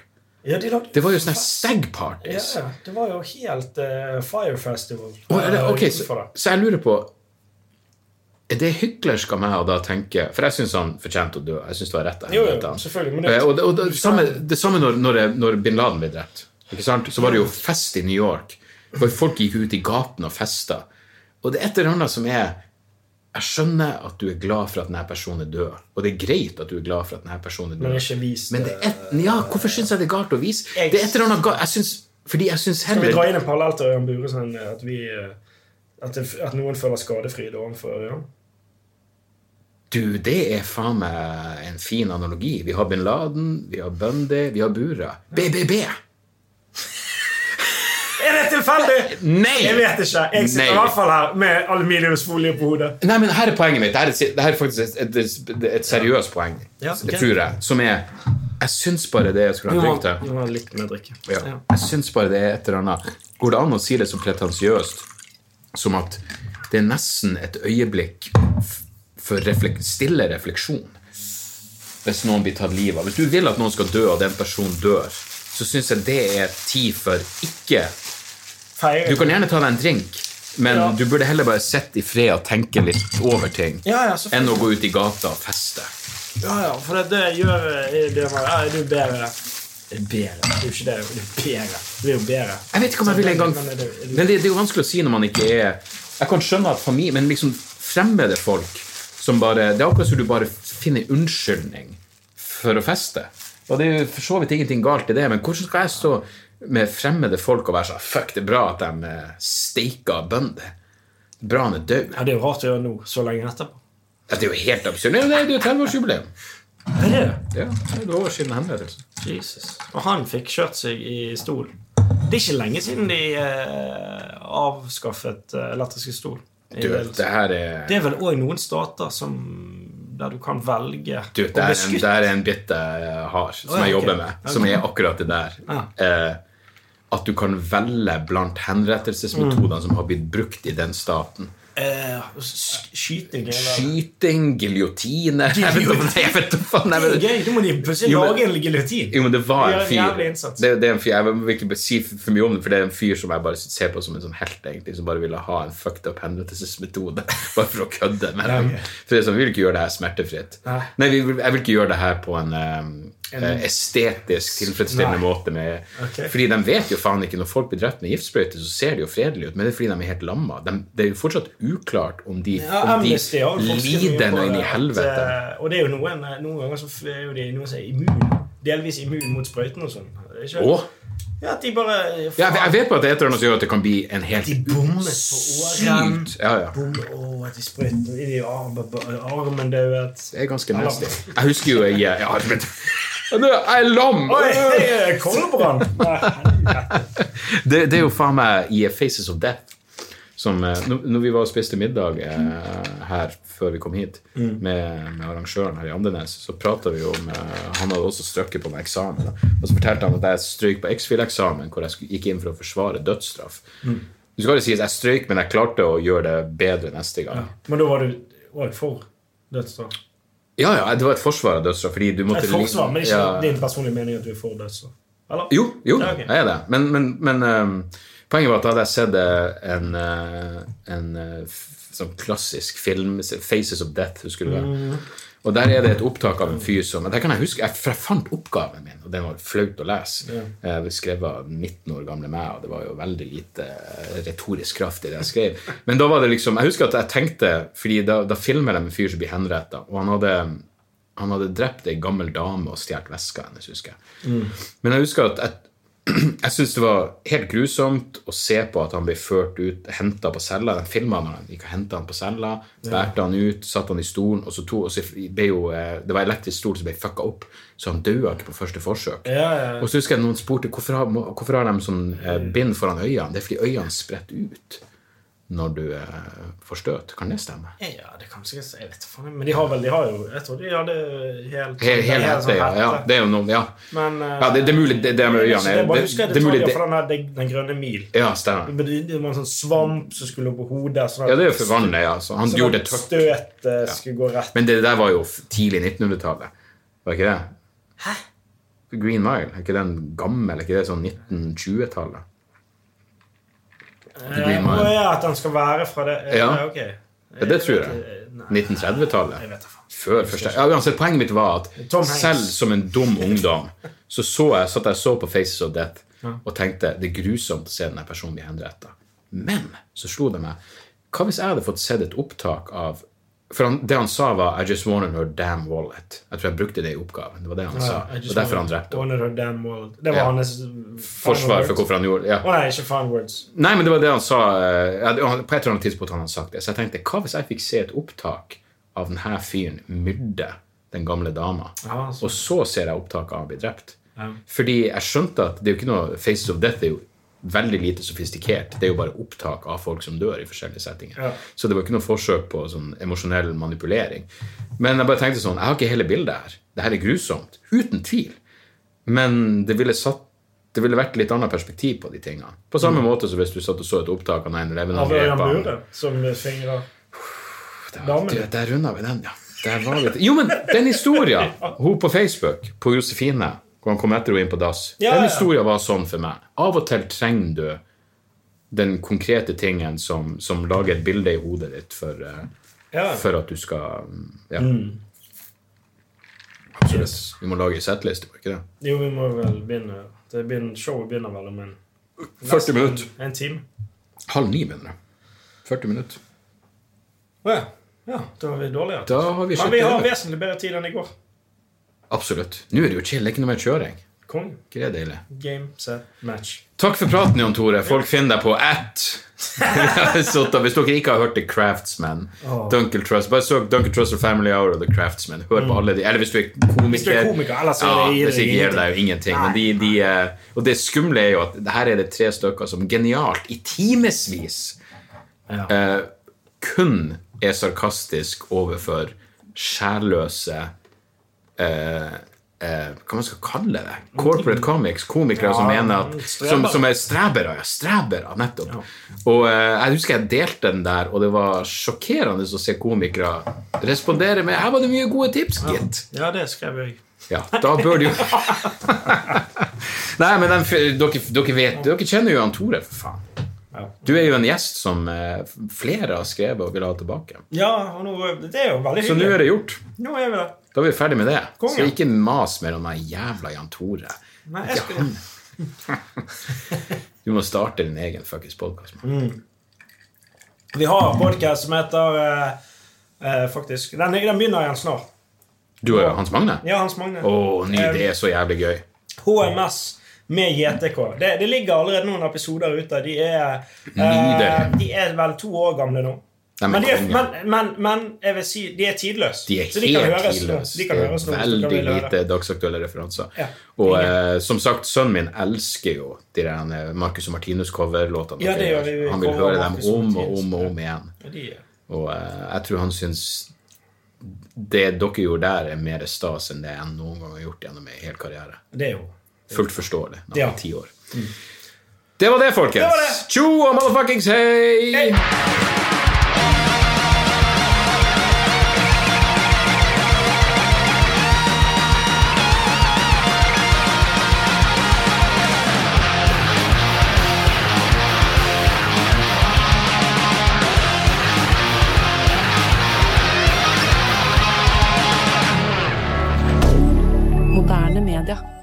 S2: Ja, de lagde
S1: Det var jo sånne stag parties.
S2: Ja, det var jo helt eh, Fire Festival.
S1: Og er det,
S2: eh,
S1: ok,
S2: utenfor
S1: så,
S2: der.
S1: så jeg lurer på Er det hyklersk av meg å da tenke For jeg syns han fortjente å dø. Jeg synes det var rett. av
S2: Jo, jo,
S1: helvete, han.
S2: selvfølgelig, men det-
S1: Eh, Og, det, og det, samme, det samme når, når, når bin Laden ble drept. Ikke sant? Så var det jo fest i New York. For folk gikk ut i gaten og festa. Og det er et eller annet som er Jeg skjønner at du er glad for at denne personen er død. Og det er greit at du er glad for at denne personen er død.
S2: Men ikke vis
S1: Men det er et, ja, hvorfor syns jeg det er galt å vise?
S2: Jeg-
S1: Det er et eller annet galt, jeg synes, Fordi jeg syns
S2: Skal vi
S1: heller
S2: dra inn en parallell til Ørjan Bure? Sånn eh, at, vi, eh, at, det, at noen føler skadefryd overfor Ørjan?
S1: Du, det er faen meg en fin analogi. Vi har bin Laden, vi har Bundy, vi har Bura. BBB!
S2: Er det tilfeldig?
S1: Nei!
S2: Jeg vet ikke. Jeg sitter
S1: Nei.
S2: i hvert fall her med aluminiumsfolie på hodet.
S1: Nei, men her er poenget mitt. Her er, si- det her er faktisk et, et, et seriøst poeng,
S2: Ja,
S1: jeg
S2: ok.
S1: tror jeg, som er Jeg syns bare det jeg skulle ha brukt det.
S2: må ha litt mer drikke.
S1: Ja. Jeg syns bare det er et eller annet Går det an å si det så pretensiøst som at det er nesten et øyeblikk f- for reflek stille refleksjon hvis noen blir tatt livet av? Hvis du vil at noen skal dø, og den personen dør, så syns jeg det er tid for ikke Du kan gjerne ta deg en drink, men
S2: Ja.
S1: du burde heller bare sitte i fred og tenke litt over ting
S2: Ja, ja, selvfølgelig.
S1: enn å gå ut i gata og feste.
S2: Ja, ja, for det, det gjør eh, det var, ja, det er jo bedre. Det er bedre. Det er jo ikke det. Det er bedre. Det er jo bedre.
S1: Jeg vet ikke om jeg ville engang
S2: Men
S1: Men
S2: det-
S1: det,
S2: det-
S1: det er jo vanskelig å si når man ikke er Jeg kan skjønne at familie Men liksom fremmede folk som bare Det er akkurat som du bare finner unnskyldning for å feste. Og det er jo for så vidt ingenting galt i det, men hvordan skal jeg stå med fremmede folk og være sånn Fuck, det er bra at de eh, steiker bønder. Bra han er død.
S2: Ja, det er jo rart å gjøre nå, så lenge etterpå.
S1: Det er jo helt absurd. Nei, nei, det er jo 30-årsjubileum.
S2: Det er det.
S1: Ja, det er et år siden henrettelsen.
S2: Jesus. Og han fikk kjørt seg i stol. Det er ikke lenge siden de eh, avskaffet eh, elektriske stol. I
S1: Du,
S2: Wales.
S1: det her er
S2: det er vel òg noen stater som, der du kan velge
S1: Du, det er, en,
S2: beskutt.
S1: det er en bit jeg har, som
S2: Å, ja, ok.
S1: jeg jobber med, som
S2: Ok.
S1: er akkurat det der.
S2: Ja.
S1: Eh, at du kan velge blant
S2: Mm.
S1: henrettelsesmetodene som har blitt brukt i den staten.
S2: Eh, sk- skyting er vel
S1: Skyting, giljotine Jeg vet ikke- jeg vet ikke faen, jeg
S2: Det er
S1: vet-
S2: gøy. Da må de plutselig
S1: Jo, men-
S2: lage en giljotin.
S1: Jo, men det var
S2: Gjør
S1: en
S2: en
S1: fyr
S2: jævlig innsats.
S1: det, det er en fyr, Jeg vil ikke si for mye om det, for det er en fyr som jeg bare ser på som en sånn helt, egentlig, som bare ville ha en fucked up henrettelsesmetode, bare for å kødde med dem.
S2: ok.
S1: For det er sånn, vi vil ikke gjøre det her smertefritt.
S2: Nei.
S1: Nei, vi vil, jeg vil ikke gjøre det her på en, eh, eh, estetisk
S2: Nei.
S1: tilfredsstillende måte. Med,
S2: Ok.
S1: Fordi de vet jo faen ikke, når folk blir drept med giftsprøyte, så ser det jo fredelig ut, men det er fordi de er helt lamma. De, det er jo fortsatt uklart om de,
S2: Ja,
S1: om de
S2: Amnesty har jo forsket mye
S1: lider
S2: på
S1: noe inn
S2: det,
S1: i
S2: at,
S1: helvete.
S2: eh, Og det er jo noen, noen ganger så er jo de noen som er immun, delvis immun mot sprøyten og sånn. Er det ikke-
S1: Åh.
S2: Ja, at de bare
S1: Ja, jeg, jeg vet på at det er et eller annet som gjør at det kan bli en helt
S2: De bommet på åren.
S1: sykt ja, ja.
S2: Bom, åh, at de sprøyter inn i armen, armen det er jo et
S1: Det er ganske nasty. Jeg husker jo jeg, jeg, jeg, men- Nå, jeg er lam!
S2: Oi, hei, koldbrann! Nei,
S1: Det, det er jo faen meg i Faces of Death. Som, eh, når når vi var og spiste middag eh, her før vi kom hit,
S2: Mm.
S1: med, med arrangøren her i Andenes, så prata vi om eh, Han hadde også strøkket på meg eksamen. Da. Og så fortalte han at jeg strøyk på X-Fil-eksamen, hvor jeg skulle, gikk inn for å forsvare dødsstraff.
S2: Mm.
S1: Du skal jo si at jeg strøyk, men jeg klarte å gjøre det bedre neste gang.
S2: Men da var du var du for dødsstraff?
S1: Ja, ja, det var et forsvar av dødsstraff. Fordi du måtte liksom-
S2: Et forsvar, men ikke
S1: Ja.
S2: din personlige mening at du er for dødsstraff? Eller?
S1: Jo, jo,
S2: Ja, ok.
S1: jeg er det. Men, men, men ehm, poenget var at da hadde jeg sett eh, en,
S2: Mm.
S1: eh, en eh, f- sånn klassisk film, 'Faces of Death', husker du det? Og Og der er det et opptak av en fyr som Der kan jeg huske, jeg, for jeg fant oppgaven min, og den var flaut å lese. Jeg ble skrevet av 19 år gamle meg, og det var jo veldig lite eh, retorisk kraft i det jeg skrev. Men da var det liksom Jeg husker at jeg tenkte, fordi da, da filmer de en fyr som blir henretta, og han hadde han hadde drept ei gammel dame og stjålet veska hennes, husker jeg.
S2: Mm.
S1: Men jeg husker at jeg, jeg syntes det var helt grusomt å se på at han ble ført ut, henta på cella. Den filma når han gikk og henta han på cella, bærte han ut, satte han i stolen, og så to, og så ble jo, eh, det var elektrisk stol som ble fucka opp, så han daua ikke på første forsøk.
S2: Ja, ja.
S1: Og så husker jeg noen spurte hvorfor har, må- hvorfor har de sånn eh, bind foran øynene. Det er fordi øynene spretter ut når du eh, får støt. Kan det stemme?
S2: Ja, det kan sikkert Jeg vet faen. Men de har vel de har jo Jeg tror de hadde helt
S1: Hel, hel
S2: det er
S1: hette,
S2: sånn
S1: ja, ja.
S2: hette.
S1: Det er jo noen, ja.
S2: Men eh,
S1: Ja, det, det er mulig det, det er
S2: jeg
S1: med
S2: vet
S1: øynene.
S2: ikke, Jeg bare
S1: Det,
S2: husker
S1: det er mulig
S2: detaljer
S1: det,
S2: fra den, her, deg- den grønne mil.
S1: ja, stemmer.
S2: Men Det det var en sånn svamp som skulle opp på hodet. Sånn at-
S1: Ja, det er jo forvandlet, ja. Så han
S2: sånn
S1: gjorde
S2: at
S1: det tørt.
S2: Støtet skulle gå rett
S1: Men det der var jo f- tidlig 1900-tallet. Var ikke det? Hæ? Green Mile, er ikke den gammel? Er ikke det sånn 1920-tallet?
S2: Eh,
S1: Mile.
S2: Å ja, at den skal være fra det eh,
S1: Ja.
S2: nei, ok. Eh,
S1: Ja, det tror jeg.
S2: Nei, jeg
S1: 1930-tallet?
S2: vet da faen.
S1: Før første ja, uansett, Poenget mitt var at
S2: Tom Hanks.
S1: selv som en dum ungdom så så jeg, satt jeg så på Faces of Death og tenkte det er grusomt å se denne personen bli henrettet. Men så slo det meg Hva hvis jeg hadde fått sett et opptak av For han, det han sa, var I just wanted her damn wallet. Jeg tror jeg brukte det i oppgaven. Det var det han sa.
S2: I just
S1: Og derfor han
S2: wanted-
S1: drepte henne.
S2: wanted her damn world. Det var
S1: Ja.
S2: hans eh,
S1: Forsvar for hvorfor han gjorde det. Ja.
S2: Å nei, ikke fan words.
S1: Nei, men det var det han sa eh, ja, det- han- På et eller annet tidspunkt hadde han sagt det. Så jeg tenkte, hva hvis jeg fikk se et opptak av denne fyren myrde den gamle dama,
S2: Ja, så-
S1: og så ser jeg opptaket av han blir drept?
S2: Ja.
S1: Fordi jeg skjønte at det er jo ikke noe Faces of Death er jo veldig lite sofistikert. Det er jo bare opptak av folk som dør i forskjellige settinger.
S2: Ja.
S1: Så det var ikke noe forsøk på sånn emosjonell manipulering. Men jeg bare tenkte sånn, jeg har ikke hele bildet her. Det her er grusomt. Uten tvil. Men det ville, satt, det ville vært litt annet perspektiv på de tingene. På samme måte som hvis du satt og så et opptak av 9-11
S2: Mm. Av Ørjan
S1: angrepene.
S2: Bure, som fingrer
S1: Det var-
S2: Damen.
S1: det- Der runda vi den, ja. Der var vi jo, men den historien! Hun på Facebook, på Josefine, hvor han kom etter henne inn på dass,
S2: Ja,
S1: den
S2: ja.
S1: historien var sånn for meg. Av og til trenger du den konkrete tingen som, som lager et bilde i hodet ditt for, eh,
S2: Ja. Mm.
S1: for at du skal mm, Ja. Absolutt. Vi må lage en settliste, må vi ikke det?
S2: Jo, vi må vel begynne. Det begynner, showet begynner vel om en
S1: 40 minutter.
S2: En time.
S1: Halv ni, mener jeg. 40 minutter.
S2: Å ja. ja. Da var vi dårligere.
S1: Da har vi
S2: Men vi
S1: sjekket
S2: har
S1: det.
S2: vesentlig bedre tid enn i går.
S1: Absolutt. Nå er det jo chill. Det er ikke noe mer kjøring.
S2: Kong.
S1: Ikke det deilig?
S2: Game, set, match.
S1: Takk for praten, Jan Tore. Folk finner deg på at Så da, Hvis dere ikke har hørt The Craftsman, Dunkel Trust, bare søk Dunkel Trust og Family Hour og The Craftsman. Hør på alle de Eller hvis du er komiker.
S2: Mm. Hvis du er komiker, ellers så
S1: ja,
S2: gir det
S1: hvis ikke gir
S2: ingenting.
S1: det deg jo ingenting. Men de, de, eh, og det skumle er jo at her er det tre stykker som genialt, i timevis,
S2: Ja.
S1: eh, kun er sarkastisk overfor sjælløse eh, eh, hva man skal kalle det? Corporate comics, komikere som
S2: Ja,
S1: mener at
S2: streber.
S1: som, som er strebere. Ja, strebere, nettopp. Og eh, jeg husker jeg delte den der, og det var sjokkerende å se komikere respondere med 'Her var det mye gode tips, gitt'.
S2: ja, det skrev jeg.
S1: Ja, da bør du jo Nei, men den, dere, dere vet Dere kjenner jo han Tore, for faen.
S2: Ja.
S1: Du er jo en gjest som eh, flere har skrevet og vil ha tilbake.
S2: Ja, og nå, det er jo veldig
S1: Så nå
S2: hyggelig.
S1: er det gjort.
S2: Nå er vi der.
S1: Da er vi ferdig med det.
S2: Konge.
S1: Så ikke mas mer om den jævla Jan Tore.
S2: Nei, jeg skulle...
S1: Du må starte din egen fuckings podkast.
S2: Vi har en podcast som heter eh, eh, Faktisk den, den begynner igjen snart.
S1: Du og Hans Magne?
S2: Ja, Hans Magne.
S1: Å, ny, det er så jævlig gøy.
S2: HMS med JTK. Det, det ligger allerede noen episoder ute. De er, eh,
S1: Nydelig.
S2: de er vel to år gamle nå.
S1: Nei,
S2: Men,
S1: men
S2: de er,
S1: konge.
S2: men, men, men jeg vil si de er tidløse.
S1: De er
S2: Så de kan
S1: helt
S2: høres nå.
S1: tidløse.
S2: De
S1: Det
S2: kan
S1: er
S2: høres nå, hvis du kan
S1: veldig
S2: ville høre.
S1: lite dagsaktuelle referanser.
S2: Ja.
S1: Og eh, som sagt, sønnen min elsker jo de der eh, Marcus og Martinus-coverlåtene.
S2: Ja,
S1: dere
S2: det gjør
S1: gjør.
S2: vi. Vi
S1: Han vil
S2: coverer
S1: høre dem
S2: Marcus og
S1: om og
S2: Martinus.
S1: om og om igjen.
S2: Ja, de er-
S1: Og eh, jeg tror han syns det dere gjorde der, er mer stas enn det jeg noen gang har gjort gjennom min hel karriere.
S2: Det er jo
S1: Fullt forståelig. Når
S2: Ja. Mm.
S1: man er ti år. Det var
S2: Det
S1: det,
S2: var
S1: folkens.
S2: det.
S1: Tjo og motherfuckings hei!
S2: Hei!
S3: Moderne media.